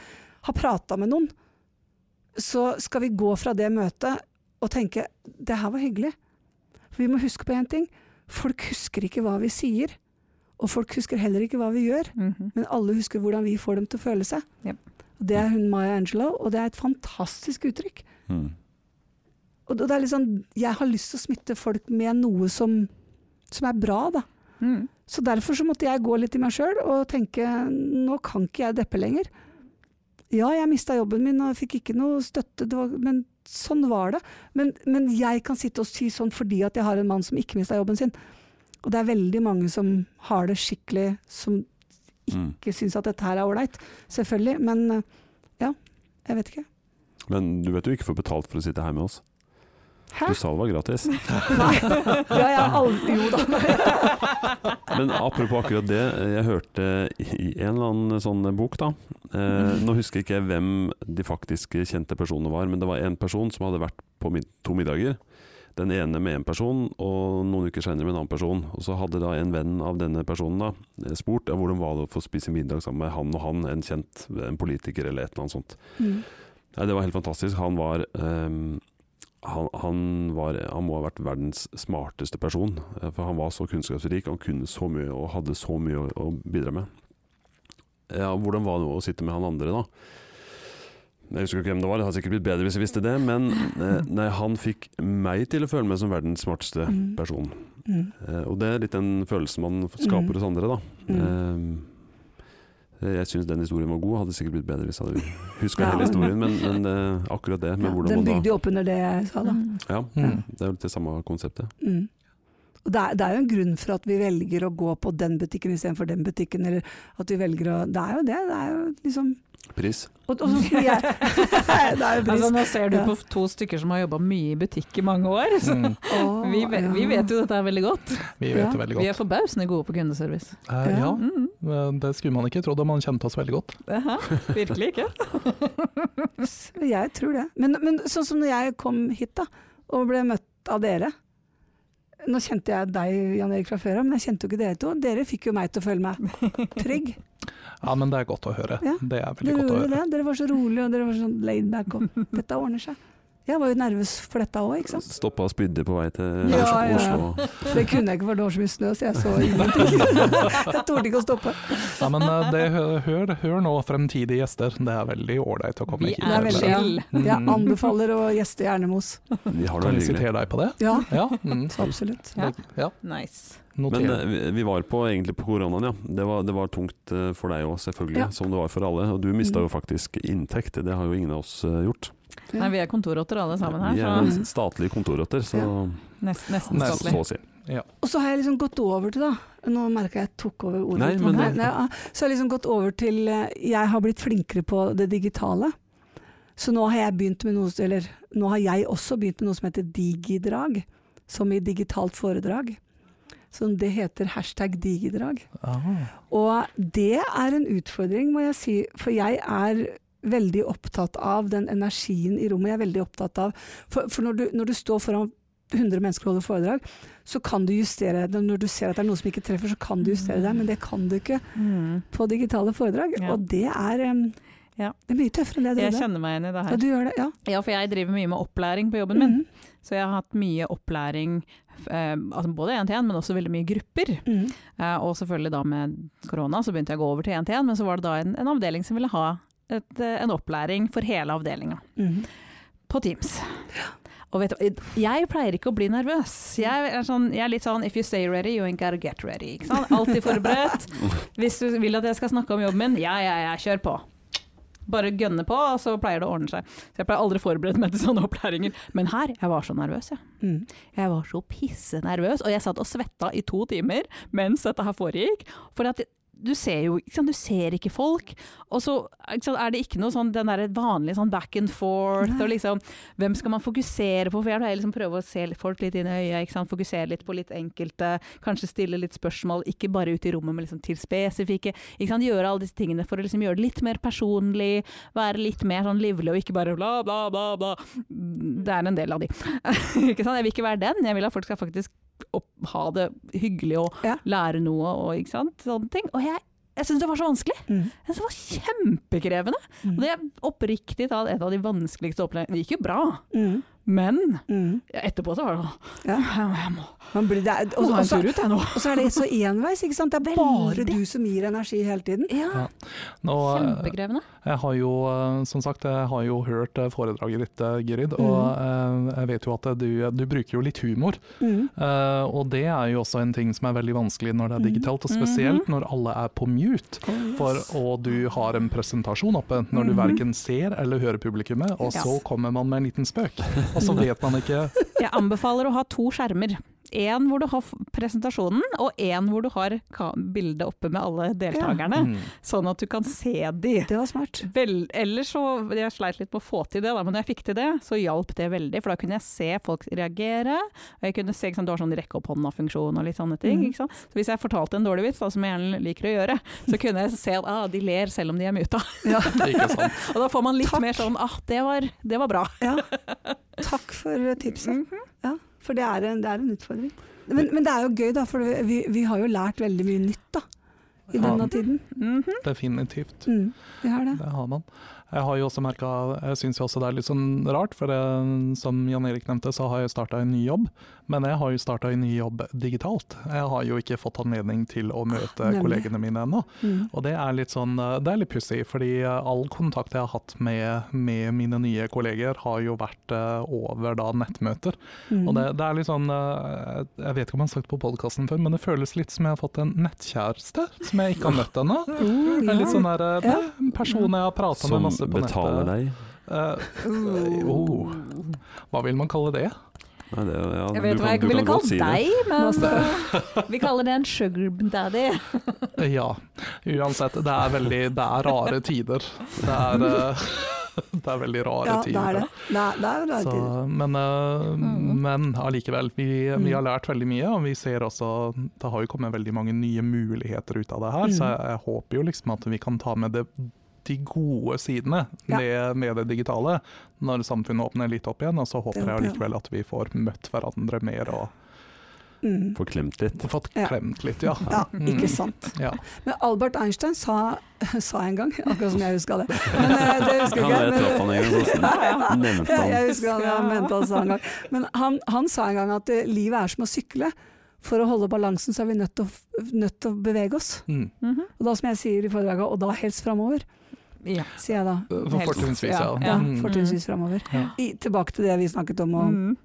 har prata med noen, så skal vi gå fra det møtet og tenke det her var hyggelig. For vi må huske på én ting. Folk husker ikke hva vi sier. Og folk husker heller ikke hva vi gjør, Mhm. men alle husker hvordan vi får dem til å føle seg. Jep. Og Det er hun Maya Angelo, og det er et fantastisk uttrykk. Mm. Og det det er litt sånn, Jeg har lyst til å smitte folk med noe som, som er bra, da. Mhm. Så derfor så måtte jeg gå litt i meg sjøl og tenke nå kan ikke jeg deppe lenger. Ja, jeg mista jobben min og fikk ikke noe støtte, det var, men sånn var det. Men, men jeg kan sitte og si sånn fordi at jeg har en mann som ikke mista jobben sin. Og det er veldig mange som har det skikkelig, som Mm. ikke syns at dette her er ålreit. Selvfølgelig. Men eh, ja, jeg vet ikke. Men du vet du ikke får betalt for å sitte her med oss. Hæ? Du sa det var gratis. Nei. Ja, jeg har aldri Jo da. Men apropos akkurat det, jeg hørte i en eller annen sånn bok, da. Eh, nå husker ikke jeg hvem de faktiske kjente personene var, men det var en person som hadde vært på mid to middager. Den ene med en person, og noen uker senere med en annen person. Og så hadde da en venn av denne personen da eh, spurt ja, hvordan var det å få spise middag sammen med han og han, en kjent en politiker eller et eller annet sånt. Mm. Nei, det var helt fantastisk. Han var ehm, han, han, var, han må ha vært verdens smarteste person, eh, for han var så kunnskapsrik. Han kunne så mye og hadde så mye å, å bidra med. Ja, hvordan var det å sitte med han andre, da? Jeg husker ikke hvem det var, det hadde sikkert blitt bedre hvis jeg visste det. Men eh, nei, han fikk meg til å føle meg som verdens smarteste Mm. person. Mm. Eh, og det er litt den følelsen man skaper Mm. hos andre, da. Mm. Eh, Ehm, jeg syns den historien var god. Hadde sikkert blitt bedre hvis jeg hadde huska Ja. hele historien, men, men eh, akkurat det med Ja, hvordan den man bygde da jo opp under det jeg sa, da. Ja, Mm. det er jo litt det samme konseptet. Mm. Og det, er, det er jo en grunn for at vi velger å gå på den butikken istedenfor den butikken. Eller at vi velger å Det er jo det. Det er jo liksom Pris. Og, og sånn som jeg Det er jo pris. Altså, nå ser du Ja. på to stykker som har jobba mye i butikk i mange år. Så Mm. Å, vi, ve- vi ja. vet jo dette er veldig godt. Vi vet Ja. det veldig Vi er godt. forbausende gode på kundeservice. Eh, ja, Mm-hmm. Mm. det skulle man ikke trodd, og man kjente oss veldig godt. Aha, virkelig ikke. Jeg tror det. Men, men sånn som når jeg kom hit da, og ble møtt av dere Nå kjente jeg deg, Jan Erik, fra før av, men jeg kjente jo ikke dere to. Dere fikk jo meg til å føle meg trygg. Ja, men det er godt å høre. Ja. Det er veldig Dere godt å gjorde høre. det. Dere var så rolige, og dere var sånn laid back. Og dette ordner seg. Jeg var jo nervøs for dette òg, ikke sant. Stoppa og spydde på vei til Ja, Oslo. ja. Oslo. Det kunne jeg ikke, for det var så mye snø, så jeg så ingenting. Jeg torde ikke å stoppe. Ja, men eh, det, hø- hør, hør nå fremtidige gjester, det er veldig ålreit å komme Vi hit. er veldig veldig- ja. Mm. Jeg anbefaler å gjeste Hjernemos. Vi har det Kan vi veldig hyggelig. sitere deg på det? Ja, Ja, mm. så absolutt. Ja. ja Nice. Men noter. eh, vi- vi var på, egentlig på koronaen, ja. Det var, det var tungt eh, for deg òg, selvfølgelig. Ja. Som det var for alle. Og du mista jo Mm. faktisk inntekt. Det har jo ingen av oss eh, gjort. Nei, vi er kontorrotter alle sammen vi her, er så jo statlige kontorrotter, så Ja. nest, nesten Nei, så, statlig. så å si. Ja. Og så har jeg liksom gått over til, da Nå merker jeg jeg tok over ordet. Nei, litt, men men det- nei, ja. så har jeg liksom gått over til eh, Jeg har blitt flinkere på det digitale. Så nå har jeg begynt med noe Eller nå har jeg også begynt med noe som heter digidrag. Som i digitalt foredrag. Så det heter hashtag digidrag. Ah. Og det er en utfordring, må jeg si. For jeg er veldig opptatt av den energien i rommet. Jeg er veldig opptatt av For, for når, du, når du står foran 100 mennesker og holder foredrag, så kan du justere det. Når du ser at det er noe som ikke treffer, så kan du justere det. Men det kan du ikke på digitale foredrag. Ja. Og det er, em, Ja. det er mye tøffere enn det Jeg jeg trodde. kjenner meg igjen i det Ja, her. du gjør det, ja. Ja, for jeg driver mye med opplæring på jobben min. Mhm, Så jeg har hatt mye opplæring, eh, altså både én til én, men også veldig mye grupper. mhm. Eh, og selvfølgelig da med korona så begynte jeg å gå over til én til én, men så var det da en, en avdeling som ville ha et, eh, en opplæring for hele avdelinga Mhm. på Teams. Og vet du, jeg pleier ikke å bli nervøs. Jeg er, sånn, jeg er litt sånn 'if you stay ready, you ain't gotta get ready'. Ikke sant? Alltid forberedt. Hvis du vil at jeg skal snakke om jobben min, ja, ja, ja, kjør på. Bare gønne på, og så pleier det å ordne seg. Så jeg pleier aldri å forberede meg til sånne opplæringer. Men her, jeg var så nervøs, jeg. Mhm. Jeg var så pissenervøs, og jeg satt og svetta i to timer mens dette her foregikk. For at du ser jo ikke, sant? Du ser ikke folk. Og så ikke sant, er det ikke noe sånn den derre vanlige sånn back and forth, og liksom Hvem skal man fokusere på? For jeg pleier liksom prøve å se folk litt inn i øyet, ikke sant? fokusere litt på litt enkelte. Kanskje stille litt spørsmål, ikke bare ut i rommet, men liksom til spesifikke. Ikke sant? Gjøre alle disse tingene for å liksom gjøre det litt mer personlig, være litt mer sånn livlig og ikke bare bla, bla, bla, bla. Det er en del av de ikke sant? Jeg vil ikke være den, jeg vil at folk skal faktisk opp, ha det hyggelig og Ja. lære noe og ikke sant? sånne ting. Og jeg, jeg syns det var så vanskelig. Mhm. Jeg synes det var kjempekrevende. Mhm. Og det er oppriktig talt et av de vanskeligste opplevelsene. Det gikk jo bra, Mhm. men Mhm. etterpå så var det sånn Ja. Jeg jeg må, Man blir, det er, må og, ha og, en så, tur ut, jeg nå. og så er det så enveis, ikke sant. Det er bare Veldig. du som gir energi hele tiden. Ja, Nå, eh, kjempekrevende. jeg har jo, eh, som sagt, jeg har jo hørt eh, foredraget ditt, eh, Gyrid, og eh, jeg vet jo at eh, du, du bruker jo litt humor. Mhm. Eh, og det er jo også en ting som er veldig vanskelig når det er digitalt, og spesielt når alle er på mute. For, og du har en presentasjon oppe når du Mhm. verken ser eller hører publikummet, og Ja. så kommer man med en liten spøk. Og så vet man ikke Jeg anbefaler å ha to skjermer. Én hvor du har f- presentasjonen, og én hvor du har ka- bildet oppe med alle deltakerne. mm, Sånn at du kan se de. Det var smart. Vel, ellers så Jeg sleit litt med å få til det, da, men når jeg fikk til det, så hjalp det veldig. For da kunne jeg se folk reagere, og jeg kunne se ikke sant, du har sånn rekke opp hånda-funksjon og litt sånne ting. Mhm. Ikke sant? Så hvis jeg fortalte en dårlig vits, da, som jeg gjerne liker å gjøre, så kunne jeg se at ah, de ler selv om de er muta. Ja. Ikke sant. Og da får man litt Takk. mer sånn ah, det var, det var bra. Ja. Takk for tipset. Mhm. Ja, for det er en, det er en utfordring. Men, men det er jo gøy, da, for vi, vi har jo lært veldig mye nytt da, i Ja. denne tiden. Mhm. Definitivt. Mm, vi har det. Det har man. Jeg har jo også merka Jeg syns også det er litt sånn rart, for eh, som Jan Erik nevnte, så har jeg starta en ny jobb. Men jeg har jo starta en ny jobb digitalt. Jeg har jo ikke fått anledning til å møte Nemlig. kollegene mine ennå. Mm. Og det er litt sånn, eh, det er litt pussig, fordi eh, all kontakt jeg har hatt med, med mine nye kolleger, har jo vært eh, over da nettmøter. Mm. Og det, det er litt sånn, eh, jeg vet ikke om jeg har sagt på podkasten før, men det føles litt som jeg har fått en nettkjæreste som jeg ikke har møtt ennå. Oh, Det er litt ja. sånn der, eh, det er en person jeg har prata med Som masse på nettet. betaler deg. Mm. Eh, oh, hva vil man kalle det? Nei, det, ja, Jeg vet du hva kan- jeg du ville kan godt kalt si det. deg, men altså, vi kaller det en sugar daddy. Eh, Ja, uansett. Det er veldig, det er rare tider. Det er, eh, det er veldig rare Ja, det tider. er det. Det er, det er jo rare Så, tider. men, eh, Mm. men allikevel, vi, Mm. vi har lært veldig mye, og vi ser også Det har jo kommet veldig mange nye muligheter ut av det her, Mm. så jeg, jeg håper jo liksom at vi kan ta med det, de gode sidene Ja. med, med det digitale når samfunnet åpner litt opp igjen. Og så håper Det jeg håper jeg. allikevel at vi får møtt hverandre mer og Mm. Får klemt litt. fått Ja. klemt litt, ja. Ja, Mm. ikke sant. Ja. Men Albert Einstein sa, sa en gang, akkurat som jeg huska det men, eh, Det husker Han ikke jeg jeg. men- traff han en gang, så nevnte Ja, han. jeg husker han, han mente han sa en gang. Men han, han sa en gang at eh, livet er som å sykle. For å holde balansen så er vi nødt til å, f- nødt til å bevege oss. Mm. Mhm. Og da som jeg sier i foredraget, og da helst framover, Ja. sier jeg da. For Fortrinnsvis, ja. Ja, Mm. fortrinnsvis framover. Ja. I- Tilbake til det vi snakket om. Og, Mhm.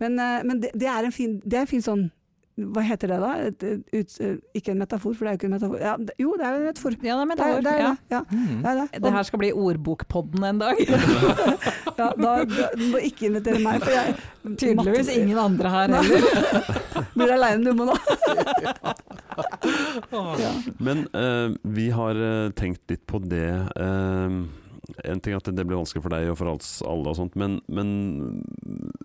men eh, men det, det, er en fin, det er en fin sånn Hva heter det da? Et, et, ut, eh, ikke en metafor, for det er jo ikke en metafor. Ja, det, jo, det er jo en metafor. Ja, det er Det er, metafor. det er, ja. det, ja. Mm. Det er det. Det her skal bli ordbokpodden en dag. ja, da, da du må ikke invitere meg, for jeg Tydeligvis Matte- ingen andre her Nei. heller. Blir aleine du må nå. ja. Men eh, vi har eh, tenkt litt på det eh, En ting er at det ble vanskelig for deg og for alls- alle, og sånt, men, men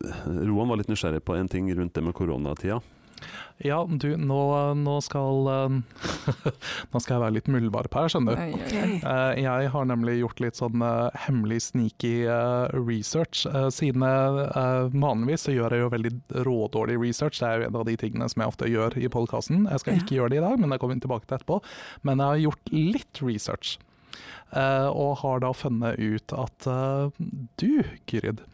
eh, Roan var litt nysgjerrig på en ting rundt det med koronatida. Ja, du, nå, nå skal eh, Nå skal jeg være litt muldvarp her, skjønner du. Oi, oi, oi. Ok. Eh, Jeg har nemlig gjort litt sånn eh, hemmelig sneaky eh, research. eh, Siden jeg eh, vanligvis så gjør jeg jo veldig rådårlig research, det er jo en av de tingene som jeg ofte gjør i podkasten. Jeg skal Ja. ikke gjøre det i dag, men jeg kommer tilbake til etterpå. Men jeg har gjort litt research, eh, og har da funnet ut at eh, du, Gyrid,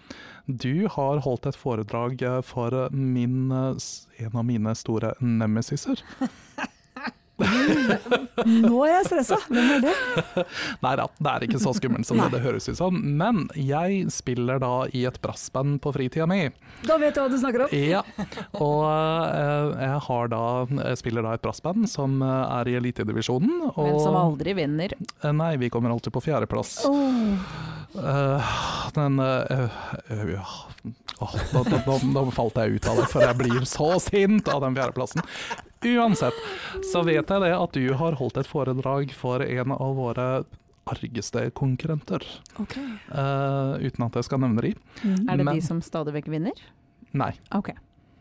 du har holdt et foredrag eh, for min, eh, s- en av mine store nemesiser. Nå er jeg stressa! Hvem er det? Nei da, det er ikke så skummelt som det, det høres ut som. Men jeg spiller da i et brassband på fritida mi. Da vet jeg hva du snakker om. Ja. Og eh, jeg, har da, jeg spiller da et brassband som eh, er i elitedivisjonen. Og, Men som aldri vinner. Eh, Nei, vi kommer alltid på fjerdeplass. Eh, den eh, eh, ja. Åh, da, da, da, da falt jeg ut av det, for jeg blir så sint av den fjerdeplassen. Uansett, så vet jeg det at du har holdt et foredrag for en av våre argeste konkurrenter. Ok. Eh, uten at jeg skal nevne de. Mm. Er det Men- de som stadig vekk vinner? Nei. Ok.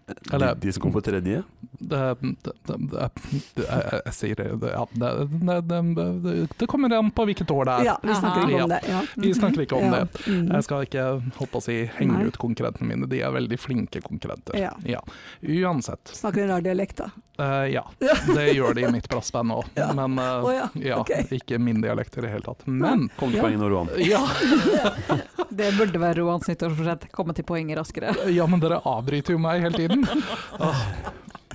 De, Eller- de som kom på tredje. Det, det, det, det, det, jeg jeg sier det, det- ja, det, det, det, det, det kommer an på hvilket år det er. Ja, vi snakker ikke om det. Ja. Vi snakker ikke om Ja. det. Mm. Jeg skal ikke holdt på å si, Nei. henge ut konkurrentene mine, de er veldig flinke konkurrenter. Ja. Uansett. Snakker en rar dialekt, da. Eh, ja, det gjør de i mitt brassband òg, Ja. men eh, Å ja, ja, ok. ikke min dialekt i det hele tatt. Men Kom til Ja. poenget nå, Roan. ja, Det burde være Roans nyttårsforsett. Komme til poenget raskere. ja, men dere avbryter jo meg hele tiden. Åh,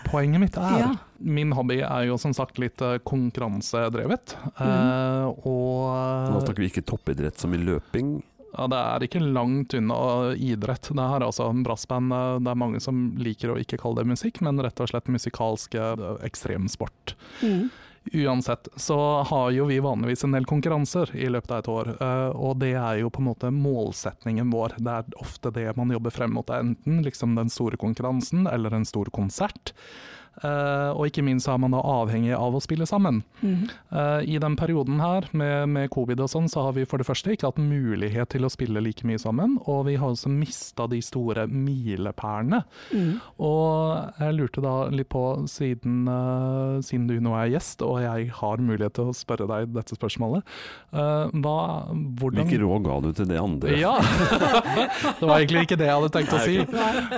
Poenget mitt er Ja. Min hobby er jo som sagt litt eh, konkurransedrevet. eh, Nå og eh, snakker vi ikke toppidrett som i løping. ja, det er ikke langt unna eh, idrett. Det her er altså en brassband. eh, Det er mange som liker å ikke kalle det musikk, men rett og slett musikalsk eh, ekstremsport. Mm. Uansett så har jo vi vanligvis en del konkurranser i løpet av et år, eh, og det er jo på en måte målsetningen vår. Det er ofte det man jobber frem mot, det er enten liksom den store konkurransen eller en stor konsert. Eh, Og ikke minst så er man da avhengig av å spille sammen. Mm. Eh, I den perioden her med, med covid og sånn, så har vi for det første ikke hatt mulighet til å spille like mye sammen, og vi har også mista de store milepælene. Mm. Og jeg lurte da litt på, siden, eh, siden du nå er gjest, og jeg har mulighet til å spørre deg dette spørsmålet, eh, hva, hvordan Hvilke råd ga du til det andre? Ja! det var egentlig ikke det jeg hadde tenkt å si.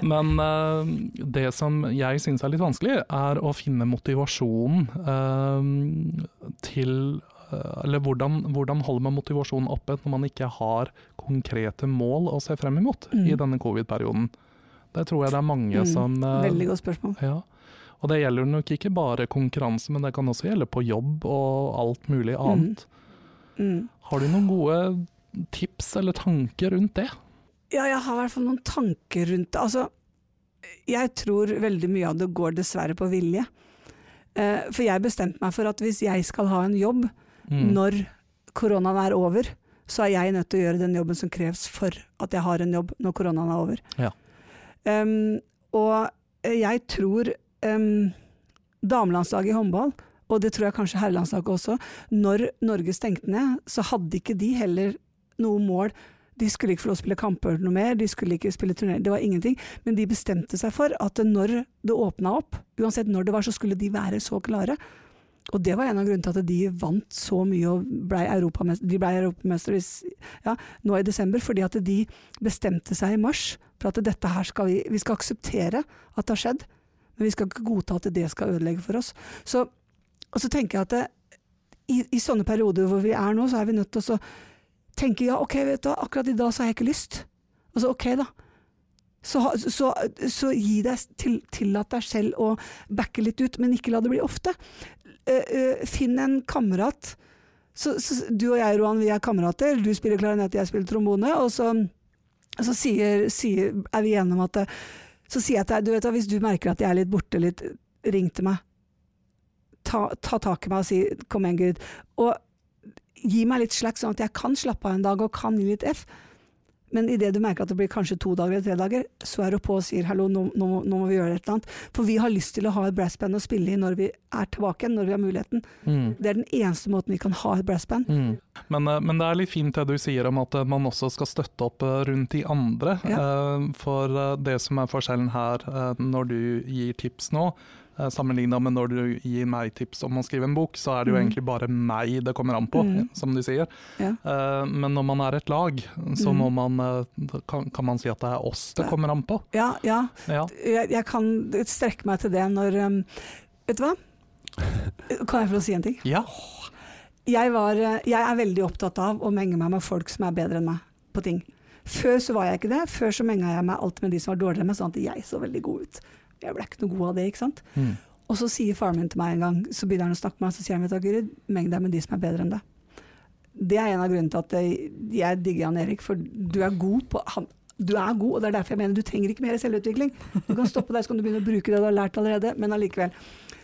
Men eh, det som jeg syns er litt vanskelig, er å finne motivasjonen eh, til eh, Eller hvordan, hvordan holder man motivasjonen oppe når man ikke har konkrete mål å se frem imot Mm. i denne covid-perioden? Det tror jeg det er mange Mm, som eh, Veldig godt spørsmål. ja. Og det gjelder nok ikke bare konkurranse, men det kan også gjelde på jobb og alt mulig annet. Mm. Har du noen gode tips eller tanker rundt det? Ja, jeg har i hvert fall noen tanker rundt det. Altså, jeg tror veldig mye av det går dessverre på vilje. Eh, for jeg bestemte meg for at hvis jeg skal ha en jobb Mm. når koronaen er over, så er jeg nødt til å gjøre den jobben som kreves for at jeg har en jobb når koronaen er over. Ja. Em, og eh, jeg tror um, damelandslaget i håndball, og det tror jeg kanskje herrelandslaget også, når Norge stengte ned, så hadde ikke de heller noe mål. De skulle ikke få lov å spille kamper noe mer, de skulle ikke spille turnering, det var ingenting. Men de bestemte seg for at når det åpna opp, uansett når det var, så skulle de være så klare. Og det var en av grunnene til at de vant så mye og ble europamester, de ble europamester hvis- ja, nå i desember, fordi at de bestemte seg i mars for at dette her skal vi, vi skal akseptere at det har skjedd, men vi skal ikke godta at det skal ødelegge for oss. Så, og så tenker jeg at det, i, i sånne perioder hvor vi er nå, så er vi nødt til å så tenke ja, ok, vet du, hva, akkurat i dag så har jeg ikke lyst. Og så ok, da. Så, ha- så, så gi deg til, tillat deg selv å backe litt ut, men ikke la det bli ofte. Eh, eh, finn en kamerat. Så, så, du og jeg, Roan, vi er kamerater. Du spiller klarinett, jeg spiller trombone. Og så, så sier, sier, er vi enige om at eh, Så sier jeg til deg, du vet hva, hvis du merker at jeg er litt borte litt ring til meg. Ta, ta tak i meg og si 'kom igjen, Gud'. Og gi meg litt slack, sånn at jeg kan slappe av en dag og kan gi litt F. Men idet du merker at det blir kanskje to dager eller tre dager, så er du på og sier 'hallo, nå, nå, nå må vi gjøre et eller annet'. For vi har lyst til å ha et brassband å spille i når vi er tilbake igjen, når vi har muligheten. Mm. Det er den eneste måten vi kan ha et brassband. Mm. Men, eh, men det er litt fint det du sier om at eh, man også skal støtte opp eh, rundt de andre. Eh, For eh, det som er forskjellen her, eh, når du gir tips nå, eh, sammenlignet med når du gir meg tips om å skrive en bok, så er det jo Mm. egentlig bare meg det kommer an på, Mm. som du sier. Ja. Eh, Men når man er et lag, så Mm. må man, eh, da kan, kan man si at det er oss det Ja. kommer an på. Ja, ja. Ja. Jeg, jeg kan strekke meg til det når um, Vet du hva? Kan jeg få lov å si en ting? Ja. Jeg, var, eh, jeg er veldig opptatt av å menge meg med folk som er bedre enn meg på ting. Før så var jeg ikke det. Før så menga jeg meg alltid med de som var dårligere enn meg, sånn at jeg så veldig god ut. Jeg ble ikke noe god av det, ikke sant. Mm. Og så sier faren min til meg en gang, så begynner han å snakke med meg, så sier han vet du, hva, Guri, meng deg med de som er bedre enn deg. Det er en av grunnene til at jeg, jeg digger Jan Erik, for du er god på han, du er god, og det er derfor jeg mener du trenger ikke mer selvutvikling. Du kan stoppe der, så kan du begynne å bruke det du har lært allerede, men allikevel.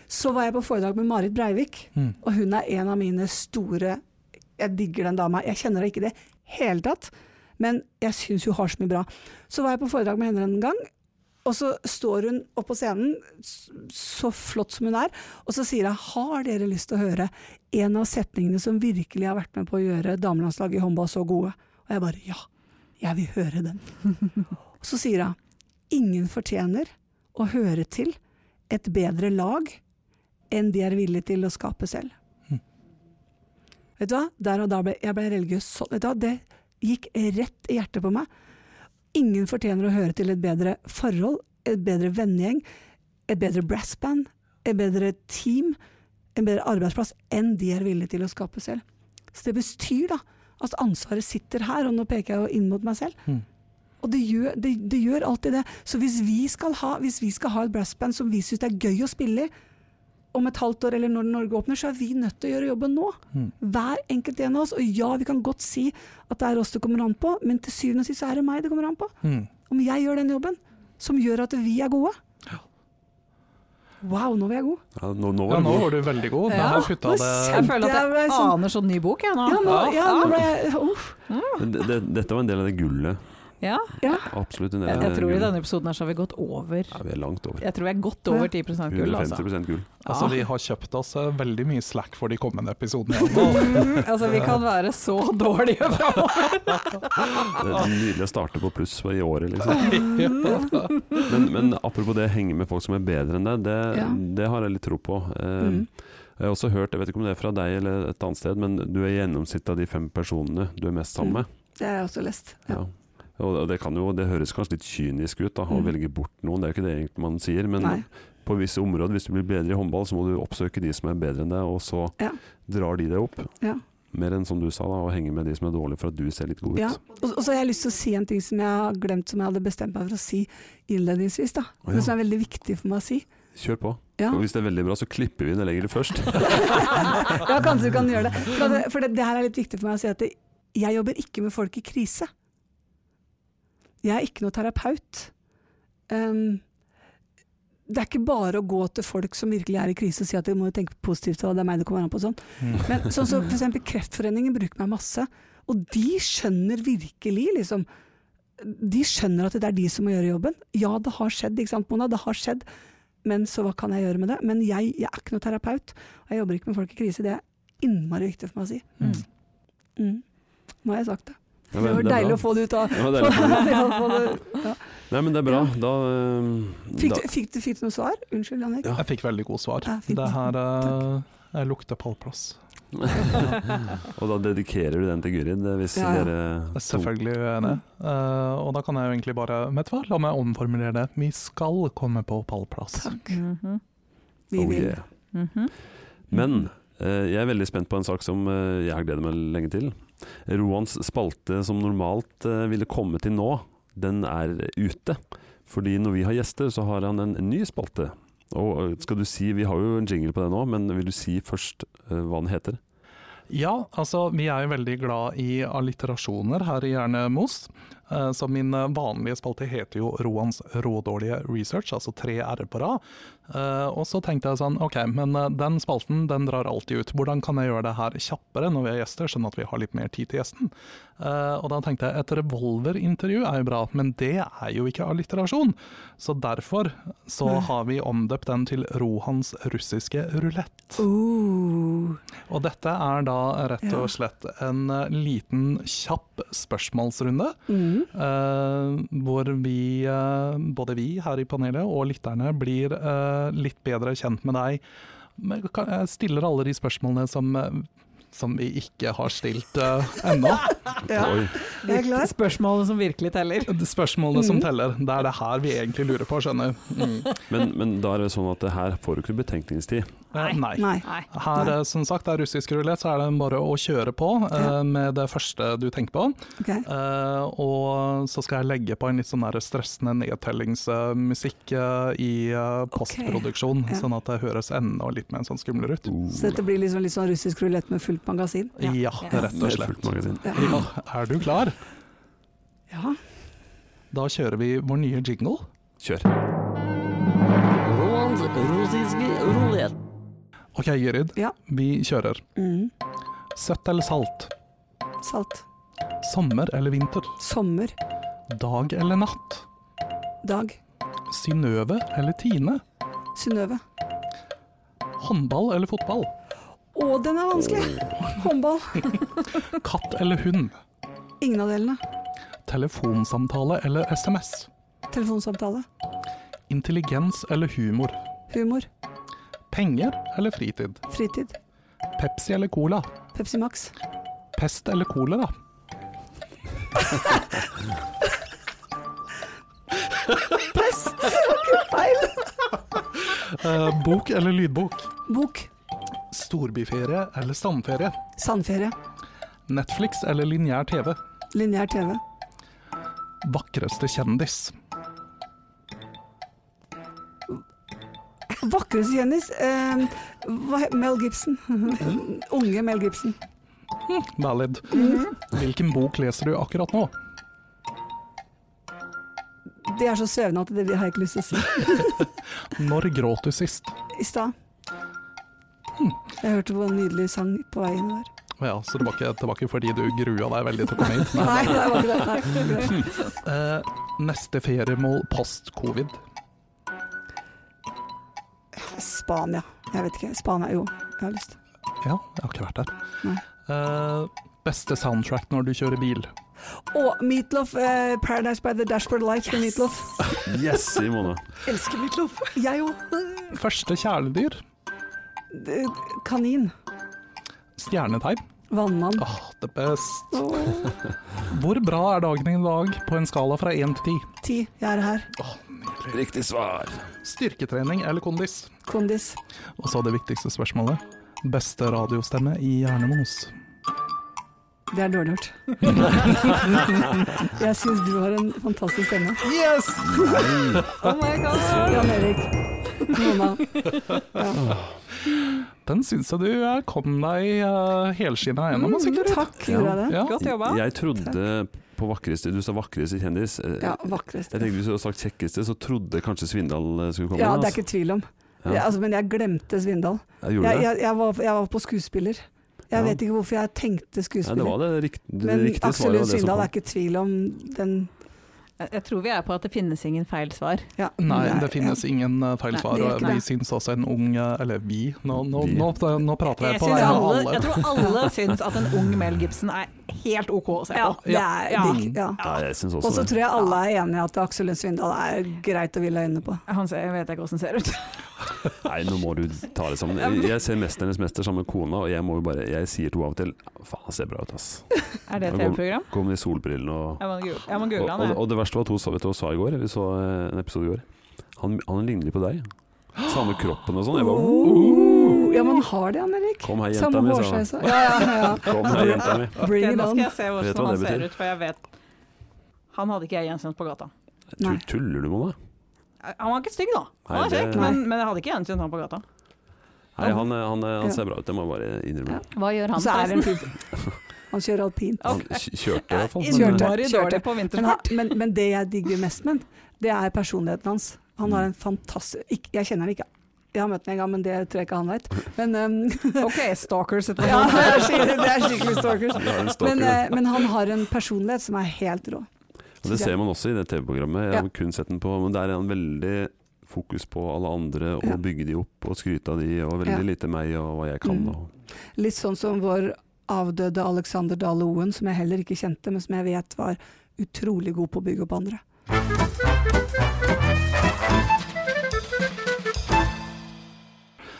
Så var jeg på foredrag med Marit Breivik, Mm. og hun er en av mine store Jeg digger den dama. Jeg kjenner henne ikke i det hele tatt, men jeg syns hun har så mye bra. Så var jeg på foredrag med henne en gang, og så står hun opp på scenen, s- så flott som hun er, og så sier jeg har dere lyst til å høre en av setningene som virkelig har vært med på å gjøre damelandslaget i håndball så gode? Og jeg bare ja, jeg vil høre den. Og så sier hun ingen fortjener å høre til et bedre lag enn de er villige til å skape selv. Vet du hva? Der og da ble jeg ble religiøs. sånn. Vet du hva? Det gikk rett i hjertet på meg. Ingen fortjener å høre til et bedre forhold, et bedre vennegjeng, et bedre brassband, et bedre team, en bedre arbeidsplass enn de er villige til å skape selv. Så det betyr da at ansvaret sitter her, og nå peker jeg jo inn mot meg selv. Mm. Og det gjør, det, det gjør alltid det. Så hvis vi skal ha, hvis vi skal ha et brassband som vi syns det er gøy å spille i, om et halvt år eller når Norge åpner, så er vi nødt til å gjøre jobben nå. Mm. Hver enkelt en av oss. Og ja, vi kan godt si at det er oss det kommer an på, men til syvende og sist så er det meg det kommer an på. Mm. Om jeg gjør den jobben som gjør at vi er gode. Wow, nå var jeg god. Ja, nå, nå ja, var det nå god. var du veldig god. Ja, Da har putta men det Jeg føler at Det er jeg liksom- aner sånn ny bok, jeg nå. Ja, nå, ja, nå ble ja. jeg uff. Men det- det- Dette var en del av det gullet. Ja. Ja. Absolutt en del Jeg, av jeg det tror i gullet. denne episoden her så har vi gått over Ja, vi er langt over. Jeg tror vi er godt over 10 gull, altså. 150 gull. Ah. Altså, vi har kjøpt oss eh, veldig mye slack for de kommende episodene. Og- Altså, vi kan være så dårlige framover. Det er nydelig å starte på pluss i året, liksom. Men, men apropos det å henge med folk som er bedre enn deg, det, Ja. det har jeg litt tro på. Eh, Mm. Jeg har også hørt, jeg vet ikke om det er fra deg eller et annet sted, men du er gjennomsnittet av de fem personene du er mest sammen med. Det har jeg også lest. Mm, Ja. Ja. Og og det, kan jo, det høres kanskje litt kynisk ut da, å Mm. velge bort noen, det er jo ikke det egentlig man sier. Men Nei. på visse områder, hvis du blir bedre i håndball, så må du oppsøke de som er bedre enn deg, og så Ja. drar de deg opp. Ja. Mer enn som du sa, da, å henge med de som er dårlige for at du ser litt god ut. Ja. Og, og så har jeg lyst til å si en ting som jeg har glemt, som jeg hadde bestemt meg for å si innledningsvis. Da. Å, ja. Men som er veldig viktig for meg å si. Kjør på. Ja. Og hvis det er veldig bra, så klipper vi inn og legger det først. ja, kanskje du kan gjøre det. For, det, for det, det her er litt viktig for meg å si at det, jeg jobber ikke med folk i krise. Jeg er ikke noe terapeut. Um, det er ikke bare å gå til folk som virkelig er i krise og si at de må tenke positivt og det er meg det kommer an på og sånn. Men sånn som for eksempel Kreftforeningen bruker meg masse, og de skjønner virkelig liksom De skjønner at det er de som må gjøre jobben. Ja, det har skjedd, ikke sant Mona? Det har skjedd. Men så hva kan jeg gjøre med det? Men jeg, jeg er ikke noe terapeut, og jeg jobber ikke med folk i krise. Det er innmari viktig for meg å si. Mm. Mm. Nå har jeg sagt det. Ja, Det men var er deilig bra. å få det ut av Ja, det er deilig. Få det- ja. Nei, men det er bra. Da, eh, Fikk da du, fikk, du, fikk du noe svar? Unnskyld, Jan Erik. Ja. Jeg fikk veldig gode svar. Ja, fint. det her eh, jeg lukter pallplass. Og da dedikerer du den til Guri, det- hvis Ja, ja. dere Selvfølgelig er jeg enig. Eh, og da kan jeg jo egentlig bare Vet du hva, la meg omformulere det. Vi skal komme på pallplass. Takk. Mhm, Vi Oh, vil. yeah. mhm. Men eh, jeg er veldig spent på en sak som eh, jeg har gledet meg lenge til. Roans spalte som normalt eh, ville komme til nå, den er ute. Fordi når vi har gjester, så har han en ny spalte. Og eh, skal du si, Vi har jo en jingle på det nå, men vil du si først eh, hva den heter? Ja, altså vi er jo veldig glad i alliterasjoner her i Hjernemos. Eh, Så min eh, vanlige spalte heter jo Roans rådårlige research, altså tre r-er på rad. Eh, Og så tenkte jeg sånn, ok, men eh, den spalten den drar alltid ut. Hvordan kan jeg gjøre det her kjappere når vi har gjester, sånn at vi har litt mer tid til gjesten? Eh, Og da tenkte jeg et revolverintervju er jo bra, men det er jo ikke alliterasjon. Så derfor så Nei. har vi omdøpt den til Rohans russiske rulett. Oh. Og dette er da rett Ja. og slett en eh, liten, kjapp spørsmålsrunde. Mm. Eh, hvor vi, eh, både vi her i panelet og lytterne, blir eh, litt bedre kjent med deg. Men kan- Jeg stiller alle de spørsmålene som, eh, som vi ikke har stilt eh, ennå. Ja. Oi. Jeg er klar. Spørsmålet som virkelig teller. De Spørsmålene Mm. som teller. Det er det her vi egentlig lurer på, skjønner du. Mm. Men, men da er det sånn at det her får du ikke betenkningstid. Eh, Nei. Nei. Nei. Her, Nei. eh, som sagt, det er russisk rulett, så er det bare å kjøre på eh, Ja. med det første du tenker på. Ok. Eh, og så skal jeg legge på en litt sånn der stressende nedtellingsmusikk eh, i eh, postproduksjon, ja. sånn at det høres enda litt mer sånn skumlere ut. Uh, Så dette blir liksom litt sånn russisk rulett med fullt magasin? Ja, Ja. Ja. rett og slett. Fullt magasin. Ja. Ja, er du klar? Ja. Da kjører vi vår nye jingle. Kjør. Rolands russiske rulett. Ok, Gyrid. Ja. Vi kjører. Mm. Søtt eller salt? Salt. Sommer eller vinter? Sommer. Dag eller natt? Dag. Synnøve eller Tine? Synnøve. Håndball eller fotball? Å, den er vanskelig! Oh. Håndball. Katt eller hund? Ingen av delene. Telefonsamtale eller SMS? Telefonsamtale. Intelligens eller humor? Humor. Penger eller fritid? Fritid. Pepsi eller cola? Pepsi Max. Pest eller kolera? Pest! Det var ikke feil! Eh, bok eller lydbok? Bok. Storbyferie eller strandferie? Sandferie. Netflix eller lineær TV? Lineær TV. Vakreste kjendis? Vakreste kjendis. Eh, hva he- Mel Gibson. Unge Mel Gibson. Valid. Hvilken bok leser du akkurat nå? Det er så svevende at det har jeg ikke lyst til å si. Når gråt du sist? I stad. Jeg hørte på en nydelig sang på vei inn der. Å Ja, så det var, ikke, det var ikke fordi du grua deg veldig til å komme hit? Nei. Nei, det var ikke det. Nei. Eh, neste feriemål post covid? Spania. Jeg vet ikke. Spania, jo. Jeg har lyst. Ja, jeg har ikke vært der. Eh, beste soundtrack når du kjører bil? Og Meatloaf. Eh, 'Paradise by the Dashboard Light' med Meatloaf. Yes, Simone. Elsker Meatloaf. Jeg òg. Første kjæledyr? eh, Kanin. Stjernetegn? Vannmann. Åh, det best. Åh. Hvor bra er dagen i dag på en skala fra 1 til 10? Ti. Jeg er her. Riktig svar. Styrketrening eller kondis? Kondis. Og så det viktigste spørsmålet. Beste radiostemme i Hjernemos. Det er dårlig gjort. jeg syns du har en fantastisk stemme. Yes! Oh my god! Jan Erik. Mona. Ja. Den syns jeg du eh, kom deg uh, helskinna gjennom. altså. Mm, Takk, gjorde jeg det? Ja. Godt jobba. Jeg trodde på vakreste Du sa vakreste kjendis. Eh, Ja, Jeg vakreste. tenkte Hvis du hadde sagt kjekkeste, så trodde jeg kanskje Svindal eh, skulle komme. Ja, men det er ikke tvil om. Ja. Ja, altså, men jeg glemte Svindal. Jeg gjorde Jeg, det. jeg, jeg, var, jeg var på skuespiller. Jeg Ja. vet ikke hvorfor jeg tenkte Nei, det skuespiller. var det riktige, det Men riktige Aksel svaret. Lund var det som Svindal kom. er ikke tvil om den Jeg, jeg tror vi er på at det finnes ingen feil svar. ja. Nei, det finnes ingen eh, feil Nei, svar. det er og ikke Vi det. syns også en ung eh, Eller vi, nå, nå, Vi. nå, eh, nå prater jeg Jeg, på synes vegne av alle, jeg alle. tror alle syns at en ung Mel Gibson er helt OK å se Ja, på. det er Ja. digg. Ja. Ja, jeg syns Og også så det. tror jeg alle er enige i at Aksel Lund Svindal er greit å ville ha øynene på. Han ser, jeg vet ikke hvordan han ser ut. Nei, nå må du ta det sammen. Jeg- Jeg ser 'Mesternes mester' sammen med kona, og jeg må jo bare Jeg sier til henne av og til Faen, han ser bra ut, ass. Er Jeg det et går- TV-program? Kom med de solbrillene og Jeg må gu- jeg må og, google han, og, jeg. og det verste var at hun sa, vet du, hva hun sa i går, vi så eh, en episode i går, han, han ligner litt på deg. Samme kroppen og sånn. Jeg bare Oh, ja, men har det, Jan Erik. Kom her, jenta Samme mi, sa han. hårsveis og ja, ja, ja. Kom her, jenta mi. Bring Ok, it Nå skal on. jeg se Vet du hva hvordan han det betyr? ser ut, for jeg vet Han hadde ikke jeg gjenkjent på gata. Eh, Nei. Tull- Tuller du med meg? Han var ikke stygg, da. Han Nei, var det- kjekk, men, men jeg hadde ikke gjenkjent han på gata. Nei, han, eh, han, eh, Ja. han ser bra ut, det må jeg bare innrømme. Hva gjør Og han, så er det en forresten? fyr Han kjører alpint. Han Ok. kj- kjørte i hvert fall. Kjørte. men, eh, Innmari Kjørte. dårlig på Men, han- vintersport. men, men det jeg digger mest med han, det er personligheten hans. Han Mm. har en fantastisk ikk- Jeg kjenner han ikke. Jeg har møtt han en gang, men det tror jeg ikke han veit. Men um, Ok, stalkers. etter ja, det hvert. er skikkelig- det er skikkelig stalkers. Det er en stalker, Men, da. eh, men han har en personlighet som er helt rå. Og det ser man også i det TV-programmet. Jeg har kun sett den på, men der er han veldig fokus på alle andre, og Ja. bygge de opp og skryte av de, og Ja. veldig lite meg og hva jeg kan. Mm. Og, Litt sånn som vår avdøde Alexander Dale Oen, som jeg heller ikke kjente, men som jeg vet var utrolig god på å bygge opp andre.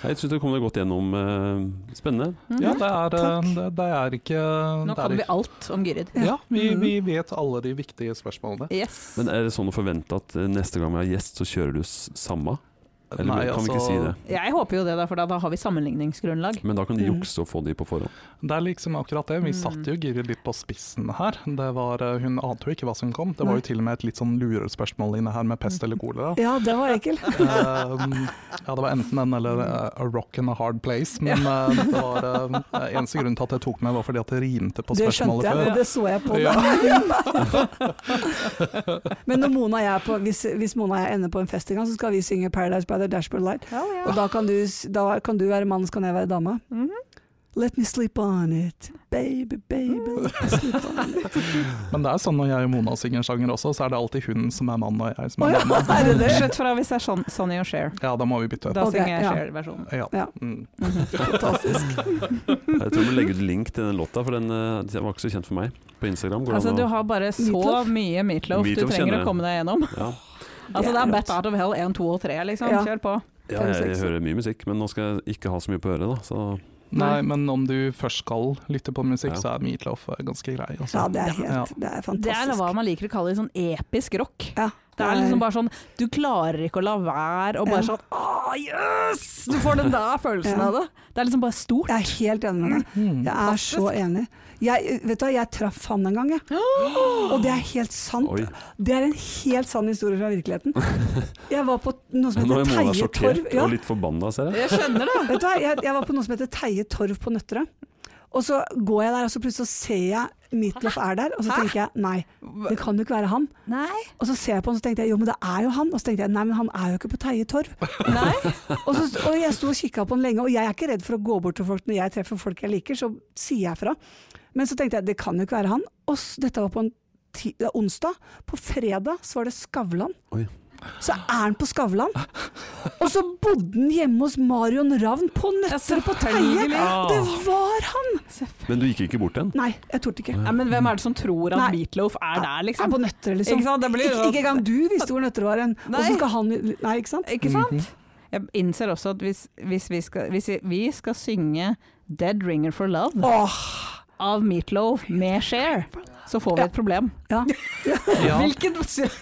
jeg syns du kom deg godt gjennom. eh, Spennende. Mhm. Ja, det er, eh, Takk. det, det er ikke Nå Sånn, det er kan vi ikke- alt om Gyrid. Ja, vi, Mhm. vi vet alle de viktige spørsmålene. Yes. Men er det sånn å forvente at eh, neste gang vi har gjest, så kjører du s samme? Eller Nei, kan vi altså, ikke si det? Jeg håper jo det, da, for da- da har vi sammenligningsgrunnlag. Men da kan de Mm. jukse og få de på forhånd. Det er liksom akkurat det. Vi satte jo Gyrid litt på spissen her. Det var, eh, hun ante jo ikke hva som kom. Det var Nei. jo til og med et litt sånn lurespørsmål inne her med pest eller kolera. Ja, det var ekkel. Eh, ja, det var enten den eller eh, A Rock and a Hard Place. Men eh, det var eh, eneste grunnen til at jeg tok med, var fordi at det rimte på Det skjønte spørsmålet jeg, og før. det så jeg på Ja. deg. Men når Mona og jeg er på, hvis, hvis Mona og jeg ender på en fest en gang, så skal vi synge 'Paradise by the Dashboard Light'. Og da kan du, s- da kan du være mann, så kan jeg være dame. Mhm. Let me sleep on it, baby, baby, Mm. let me sleep on it. Men det er sånn når jeg og Mona synger sjanger også, så er det alltid hun som er mann og jeg som Å er ja, dame. er det det? Slutt fra hvis det er sånn Sonny og Cher. Ja, da må vi bytte. Da Ok, synger jeg ja. Cher-versjonen. Ja. Ja. Mm. Mhm. Fantastisk. Jeg tror vi legger ut link til den låta, for den eh, den var ikke så kjent for meg. På Instagram går det Altså, an du har bare så Meatloaf? mye meatloaf du Meatloaf trenger kjenner å jeg. komme deg gjennom. å ja. Altså, det er er rått. Bat Out of Hell 1, 2 og 3, liksom. Ja. Kjør på. ja, Fem, jeg, jeg seks. hører mye musikk, men nå skal jeg ikke ha så mye på øret, da. Så Nei, men om du først skal lytte på musikk, Ja. så er Meatloaf eh, ganske grei. Altså. Ja, det er Ja. helt Det er Det er fantastisk. hva man liker å kalle sånn episk rock. Ja, Det er liksom bare sånn Du klarer ikke å la være, og bare Ja. sånn Å, jøss! Du får den der følelsen Ja. av det. Det er liksom bare stort. Jeg er helt enig med deg. Mm. Jeg er så enig. Jeg, vet du, hva, jeg traff han en gang, jeg. Og det er helt sant. oi. Det er en helt sann historie fra virkeligheten. Jeg var på noe som Nå er Mona heter Teie Torv. sjokkert Ja, og litt forbanna, ser jeg. Jeg skjønner det. vet du, hva, jeg, jeg var på noe som heter Teie Torv på Nøtterøy. Og så går jeg der, og så plutselig så ser jeg Meatloaf er der, og så Hæ? tenker jeg nei, det kan jo ikke være han. Nei. Og så ser jeg på han, så tenkte jeg jo, men det er jo han. Og så tenkte jeg nei, men han er jo ikke på Teie Torv. Nei. Og, så, og jeg sto og kikka på den lenge, og jeg er ikke redd for å gå bort til folk når jeg treffer folk jeg liker, så sier jeg fra. Men så tenkte jeg det kan jo ikke være han. Og s- dette var på en ti det er onsdag. På fredag så var det Skavlan. Oi. Så er han på Skavlan. Og så bodde han hjemme hos Marion Ravn på Nøtter på Teie! selvfølgelig. Det var han! Men du gikk ikke bort til den? Nei, jeg torde ikke. Nei, men hvem er det som tror at Nei. Meatloaf er der, Er liksom? på Nøtter, liksom. Ikke sant, det blir jo ikke, sånn- ikke engang du visste hvor Nøtter var hen. Nei. Åssen skal han Nei, ikke sant? Ikke sant? Jeg innser også at hvis, hvis, vi, skal, hvis vi- vi skal synge 'Dead Ringer for Love' Åh, av Meatloaf med Cher, så får vi et problem. ja. Ja. Hvilken,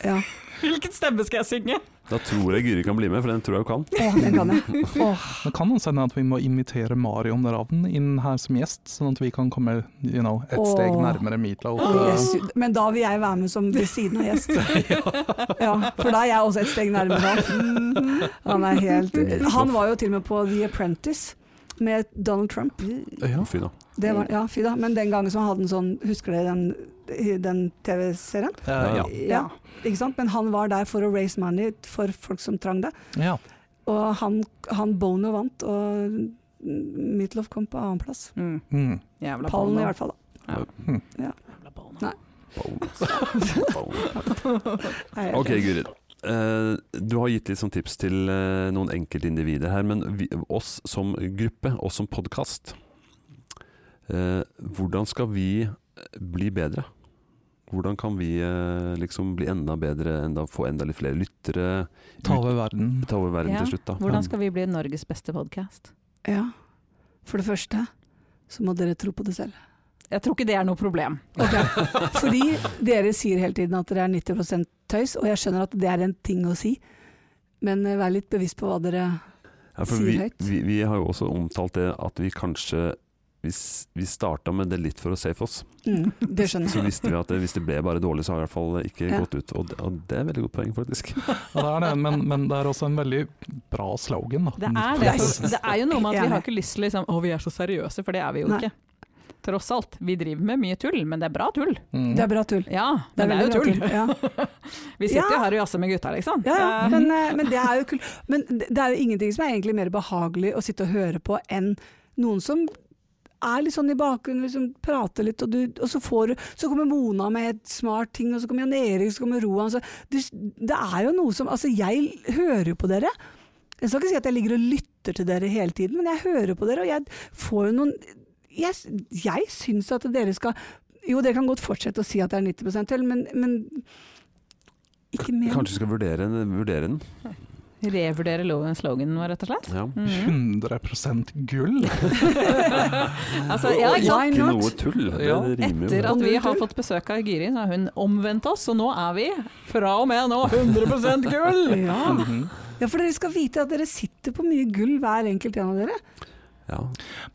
ja. hvilken stemme skal jeg synge? Da tror jeg Gyri kan bli med, for den tror jeg hun kan. Åh, den kan jeg. Åh. Det kan jo hende at vi må invitere Marion Ravn inn her som gjest, sånn at vi kan komme you know, et Åh. steg nærmere Meatloaf. Og jeg sy- Men da vil jeg være med som ved siden av gjest. Ja, for da er jeg også et steg nærmere han. Han Mhm. er helt Han var jo til og med på The Apprentice med Donald Trump. Ja. Fy da. Det var, ja, fy da. Men den gangen som han hadde en sånn Husker dere den, den TV-serien? Eh, ja. Ja. Ikke sant? Men han var der for å raise money for folk som trang det. ja. Og han, han Bono vant, og Meatloaf kom på annenplass. Mm, Mm. jævla Pallen i Bono. hvert fall, da. Jævla Bono. Nei. Bones. Bones. Nei, jeg- Ok, Gyrid. Eh, du har gitt litt sånn tips til eh, noen enkeltindivider her, men vi, oss som gruppe, oss som podkast eh, Hvordan skal vi eh, bli bedre? Hvordan kan vi eh, liksom bli enda bedre, enda, få enda litt flere lyttere? Ta over verden. Ta over verden Ja, til slutt, da. Hvordan skal vi bli Norges beste podkast? Ja. For det første så må dere tro på det selv. Jeg tror ikke det er noe problem. Ok, Fordi dere sier hele tiden at dere er 90 tøys, og jeg skjønner at det er en ting å si, men eh, vær litt bevisst på hva dere Ja, for Sier vi, høyt. vi, vi har jo også omtalt det at vi kanskje Vi, s- vi starta med det litt for å safe oss. mm, Det skjønner Så jeg. visste vi at det, hvis det ble bare dårlig, så har det i hvert fall ikke Ja. gått ut. Og det, og det er veldig godt poeng, faktisk. Ja, det er det, men, men det er også en veldig bra slogan. Da. Det er, det. det, for det er jo noe med at vi Enig. har ikke lyst til liksom, å vi er så seriøse, for det er vi jo Nei. ikke. Tross alt. Vi driver med mye tull, men det er bra tull. Mm. Det er bra tull. Ja, men det er veldig jo tull. bra Ja. Vi sitter jo Ja. her og jazzer med gutta, liksom. Ja, ja. Eh, Men, eh, men det er jo kul. Men det det er jo ingenting som er egentlig mer behagelig å sitte og høre på enn noen som er litt sånn i bakgrunnen, liksom prater litt, og, du, og så, får, du- så kommer Mona med et smart ting, og så kommer Jan Erik, så kommer Roan. Så det, det er jo noe som Altså, jeg hører jo på dere. Jeg skal ikke si at jeg ligger og lytter til dere hele tiden, men jeg hører på dere, og jeg får jo noen Jeg, jeg syns at dere skal Jo, dere kan godt fortsette å si at det er 90 til, men, men ikke mer. Kanskje vi skal vurdere, en- vurdere den. Revurdere lo- sloganen vår, rett og slett. Ja. Mm. Mhm. 100 gull! altså, ja, ikke sant? Why Ikke not? noe tull. Det Ja. rimer Etter jo. at vi har fått besøk av Giri, så har hun omvendt oss, og nå er vi fra og med nå 100 gull! Ja. Mhm. ja, for dere skal vite at dere sitter på mye gull hver enkelt en av dere. Ja.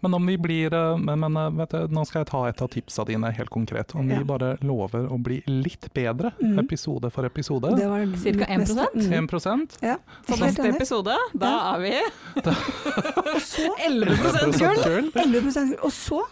Men om vi blir eh, Men, men eh, vet du, nå skal jeg ta et av tipsa dine helt konkret. Om Ja. vi bare lover å bli litt bedre Mhm. episode for episode. Det var Cirka mitt neste. 1%? Mm. 1 Ja, Så helt neste enig. episode, da Ja. er vi Og så 11 gull! gull! 11 gull. Og så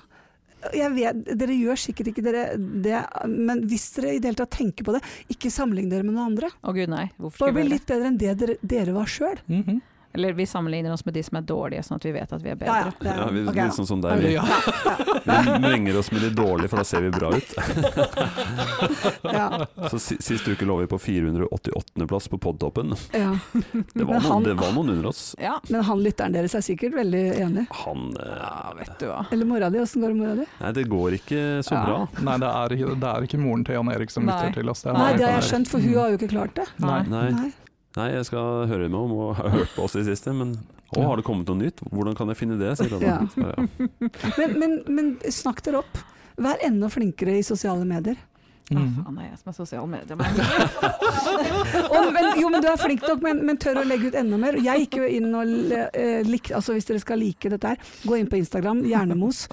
jeg vet, Dere gjør sikkert ikke dere det, men hvis dere i det hele tatt tenker på det, ikke sammenlign dere med noen andre. Å gud, nei. Hvorfor skulle vi Bare bli gjøre det? litt bedre enn det dere, dere var sjøl. Mhm. Eller vi sammenligner oss med de som er dårlige, sånn at vi vet at vi er bedre. Ja, ja, det er- Ja, vi, ok, litt ja. sånn som deg. Vi, Ja. vi vrenger oss med de dårlige, for da ser vi bra ut. Ja, Så si- Sist uke lå vi på 488. plass på podtoppen. ja. Det var, Men han- noen, det var noen under oss. Ja, Men han lytteren deres er sikkert veldig enig. Han eh, vet du hva. Eller mora di, åssen går det med mora di? Nei, det går ikke så Ja. bra. Nei, det er, det er ikke moren til Jan Erik som Nei. lytter til oss. Ja, Nei, jeg det har ikke. jeg skjønt, for hun har jo ikke klart det. Nei. Nei, nei, jeg skal høre med om og har hørt på oss i siste, men Å, har det kommet noe nytt? Hvordan kan jeg finne det? sier han. Ja. Så, ja. Men, men, men snakk dere opp. Vær enda flinkere i sosiale medier. Å, Mhm. faen, det er jeg som er sosial medie. Og, men, jo, men Du er flink nok, men, men tør å legge ut enda mer. Jeg gikk jo inn og eh, lik, altså Hvis dere skal like dette her, gå inn på Instagram. Hjernemos.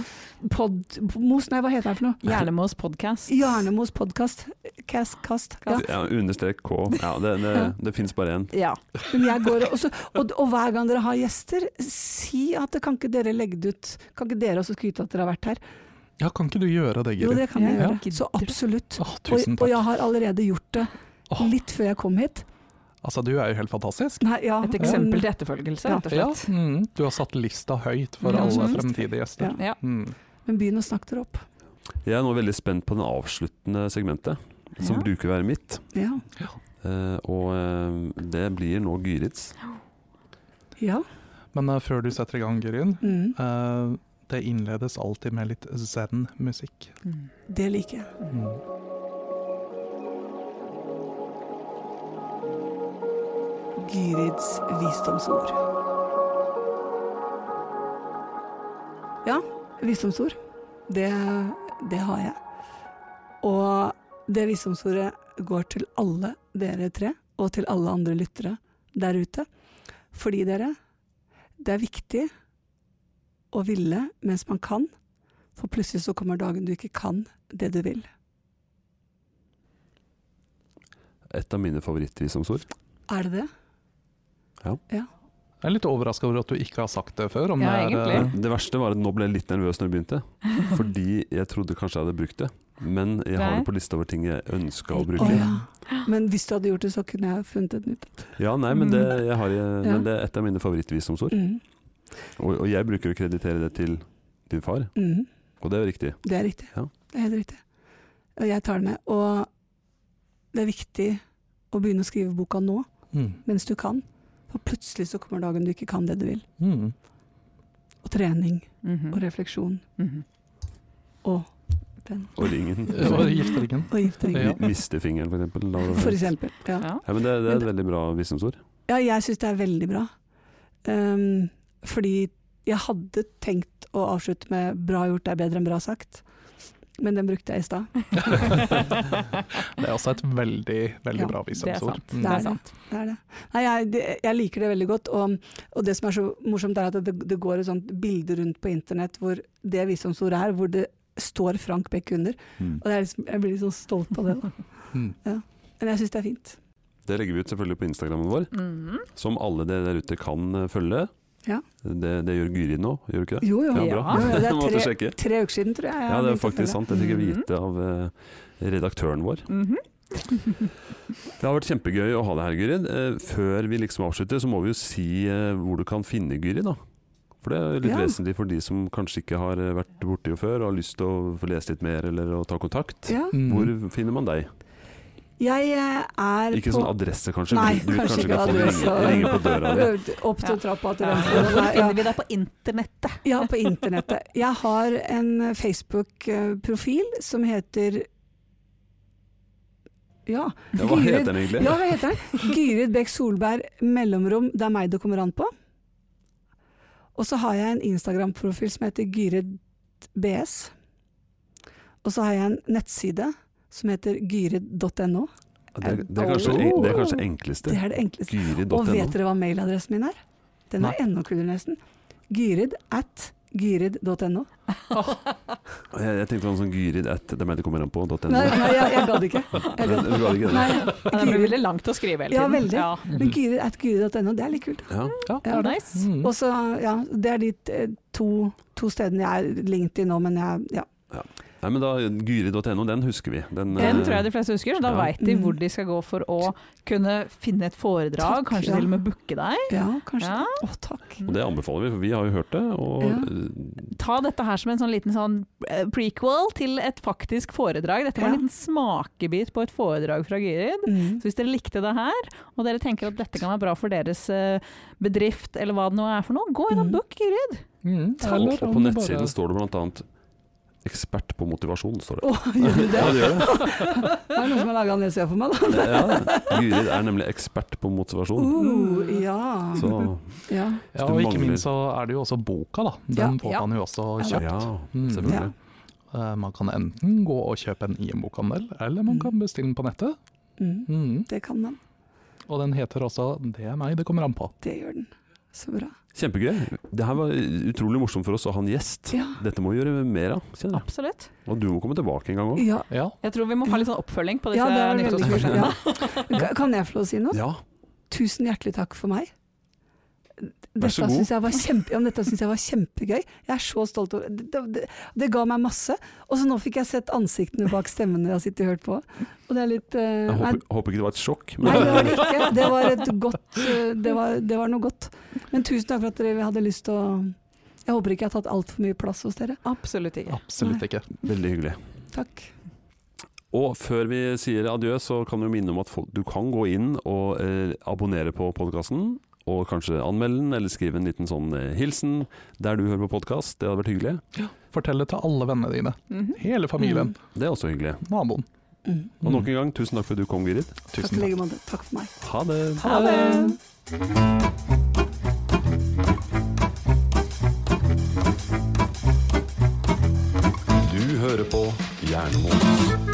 Pod, mos, nei, hva heter det for noe? Hjernemos podcast. Hjernemos podkast. Cast, cast. Ja. Ja, understrek K. Ja, det det, det fins bare én. Ja. Men jeg går også, og, og hver gang dere har gjester, si at det kan ikke dere legge det ut. Kan ikke dere også skryte at dere har vært her? Ja, kan ikke du gjøre det, Jo, Giri? det kan jeg Ja. gjøre. Så absolutt. Åh, Og, tusen og takk. jeg har allerede gjort det. Åh. Litt før jeg kom hit. Altså, du er jo helt fantastisk. Nei, ja, Et eksempel til etterfølgelse, Ah. Ja. rett og Ja, slett. mhm. Du har satt lista høyt for Ja. alle Mhm. fremtidige gjester. Ja. Ja. Mhm. Mm. Men begynn å snakke dere opp. Jeg er nå veldig spent på det avsluttende segmentet, som Ja. bruker å være mitt. Ja. Eh, og eh, det blir nå Gyrits. ja. Men eh, før du setter i gang, Gyrin, Mm. eh, det innledes alltid med litt zen-musikk. Mm. Det liker jeg. Mhm. Gyrids visdomsord. Ja, visdomsord. Det, det har jeg. Og det visdomsordet går til alle dere tre, og til alle andre lyttere der ute. Fordi dere, det er viktig å ville mens man kan, for plutselig så kommer dagen du ikke kan det du vil. Et av mine favorittvisdomsord. Er det det? Jeg er litt overraska over at du ikke har sagt det før. Om Ja, det er, eh, egentlig. Det verste var at nå ble jeg litt nervøs når jeg begynte, fordi jeg trodde kanskje jeg hadde brukt det. Men jeg har det på lista over ting jeg ønska å Å bruke. ja. Men hvis du hadde gjort det, så kunne jeg funnet et nytt. Ja, nei, men det, jeg har, jeg, Ja. men det er et av mine favorittvisdomsord. Mm. Og, og jeg bruker å kreditere det til din far, Mm. og det er riktig. Det er riktig. Ja. Det er helt riktig. Og jeg tar det med. Og det er viktig å begynne å skrive boka nå, Mhm. mens du kan. For plutselig så kommer dagen du ikke kan det du vil. Mhm. Og trening og Mhm. refleksjon Mhm. og, Og ringen. Og gifteringen. og giftering. Ja. Mi- Miste fingeren, for eksempel. Da- For eksempel. Ja. Ja. Ja, men det, det er et veldig bra visdomsord. Ja, jeg syns det er veldig bra. Ehm, fordi jeg hadde tenkt å avslutte med 'bra gjort er bedre enn bra sagt', men den brukte jeg i stad. Det er også et veldig, veldig Ja, bra Det er visdomsord. sant. Mhm. Det er sant. Mm. Det er det. Nei, jeg, det, jeg liker det veldig godt. Og, og det som er så morsomt, er at det, det går et sånt bilde rundt på internett hvor det visdomsordet er, hvor det står Frank Beck under. Mm. Og det er liksom, jeg blir litt sånn stolt av det. Da. Mhm. Men jeg syns det er fint. Det legger vi ut selvfølgelig på Instagrammen vår, Mhm. som alle dere der ute kan eh, følge. Ja. Det, det gjør Gyrid nå, gjør du ikke det? Jo, jo. Ja, Ja. bra. Jo, jo, det er Måtte sjekke. Tre uker siden, tror jeg. jeg Ja, det er begynte å faktisk følge. sant. Det fikk jeg Mhm. vite av eh, redaktøren vår. Mhm. Det har vært kjempegøy å ha deg her, Gyrid. Eh, før vi liksom avslutter, så må vi jo si eh, hvor du kan finne Gyrid, da. For det er jo litt Ja. vesentlig for de som kanskje ikke har eh, vært borti henne før og har lyst til å få lese litt mer eller å ta kontakt. Ja. Mm. Hvor finner man deg? Jeg eh, er Ikke på sånn adresse, kanskje? Nei, du, du kanskje ikke kan få adresse. ringe, ringe på døra di. Opp til trappa til Ja. venstre. Hvor Nei, ja. finner vi deg på internettet? Ja, på internettet. Jeg har en Facebook-profil som heter Ja. Ja, hva heter den egentlig? Ja, hva heter den? Gyrid Bekk Solberg, mellomrom, det er meg det kommer an på. Og så har jeg en Instagram-profil som heter Gyrid BS. Og så har jeg en nettside som heter gyrid.no. Det, er- det, er kanskje, Oh. det er kanskje enkleste. Det er det enkleste. Og Gyrid.no. vet dere hva mailadressen min er? Den er enda kulere, nesten. Gyrid at gyrid.no. Jeg, jeg tenkte på noe sånn Gyrid at det er meg det kommer an på. .no. Nei, nei, jeg, jeg gadd ikke. Jeg Men gadd du ga det ikke det? Nei, Det blir veldig langt å skrive hele Ja, tiden. veldig. men gyrid at gyrid.no, det er litt kult. Ja. Ja, det Ja. er det. Nice. Mm. Og så, ja, det er de eh, to, to stedene jeg er LinkedIn nå, men jeg, ja. Nei, men da Gyri.no, den husker vi. Den, eh, Den tror jeg de fleste husker, så da Ja. vet de hvor de skal gå for å kunne finne et foredrag, Takk, kanskje ja. til og med booke deg. ja kanskje. Ja. Å, takk. Og det anbefaler vi, for vi har jo hørt det. Og Ja. eh, Ta dette her som en sånn liten sånn eh, prequel til et faktisk foredrag. Dette var Ja. en liten smakebit på et foredrag fra Gyrid. Mm. Så hvis dere likte det her, og dere tenker at dette kan være bra for deres eh, bedrift, eller hva det nå er for noe, gå inn Mm. og book Gyrid. Mm. og, Eller og om på du nettsiden bare- står det bl.a. 'ekspert på motivasjon'. står det. Å, gjør du det? Ja, det gjør det. Det er noen som har laga den nettsida for meg, da. Ja. Gyrid er nemlig ekspert på motivasjon. Uh, ja. Så Ja, ja. du og ikke mangler- minst så er det jo også boka, da. Den Ja. får man jo også Ja. kjøpt. ja, Mm. selvfølgelig. Eh, Man kan enten gå og kjøpe den i en bokhandel, eller man Mm. kan bestille den på nettet. Mm. Mm. Det kan man. Og den heter også 'Det er meg det kommer an på'. Det gjør den. Så bra. Kjempegøy. Det her var utrolig morsomt for oss å ha en gjest. Ja. Dette må vi gjøre mer av, kjenner jeg. Absolutt. Og du må komme tilbake en gang òg. Ja. Ja. Jeg tror vi må ha litt sånn oppfølging på ja, disse det ja, er veldig kult. nyttårskursene. Ja. Ka- Kan jeg få lov å si noe? Ja. Tusen hjertelig takk for meg. Vær så Dette god. syns jeg, var kjempe, ja, men dette synes jeg var kjempegøy. Jeg er så stolt over det. Det, det, det ga meg masse. Og så nå fikk jeg sett ansiktene bak stemmene jeg har sittet og hørt på. Og det er litt eh, Jeg nei, håper, håper ikke det var et sjokk. nei, det var Men, det ikke. Det var, et godt, eh, det, var, det var noe godt. Men tusen takk for at dere hadde lyst til å Jeg håper ikke jeg har tatt altfor mye plass hos dere. Absolutt ikke. Absolutt ikke. veldig hyggelig. Takk. Og før vi sier adjø, så kan vi minne om at folk, du kan gå inn og eh, abonnere på podkasten. Og kanskje anmelde den, eller skrive en liten sånn eh, hilsen der du hører på podkast. Det hadde vært hyggelig. Fortell det til alle vennene dine. Mhm. Hele familien. Det er også hyggelig. Naboen. Mm. Mm. Og nok en gang, tusen takk for at du kom, Gyrid. Takk Tusen i takk. like måte. Takk for meg. Ha det! Ha det! Du hører på Jernmos.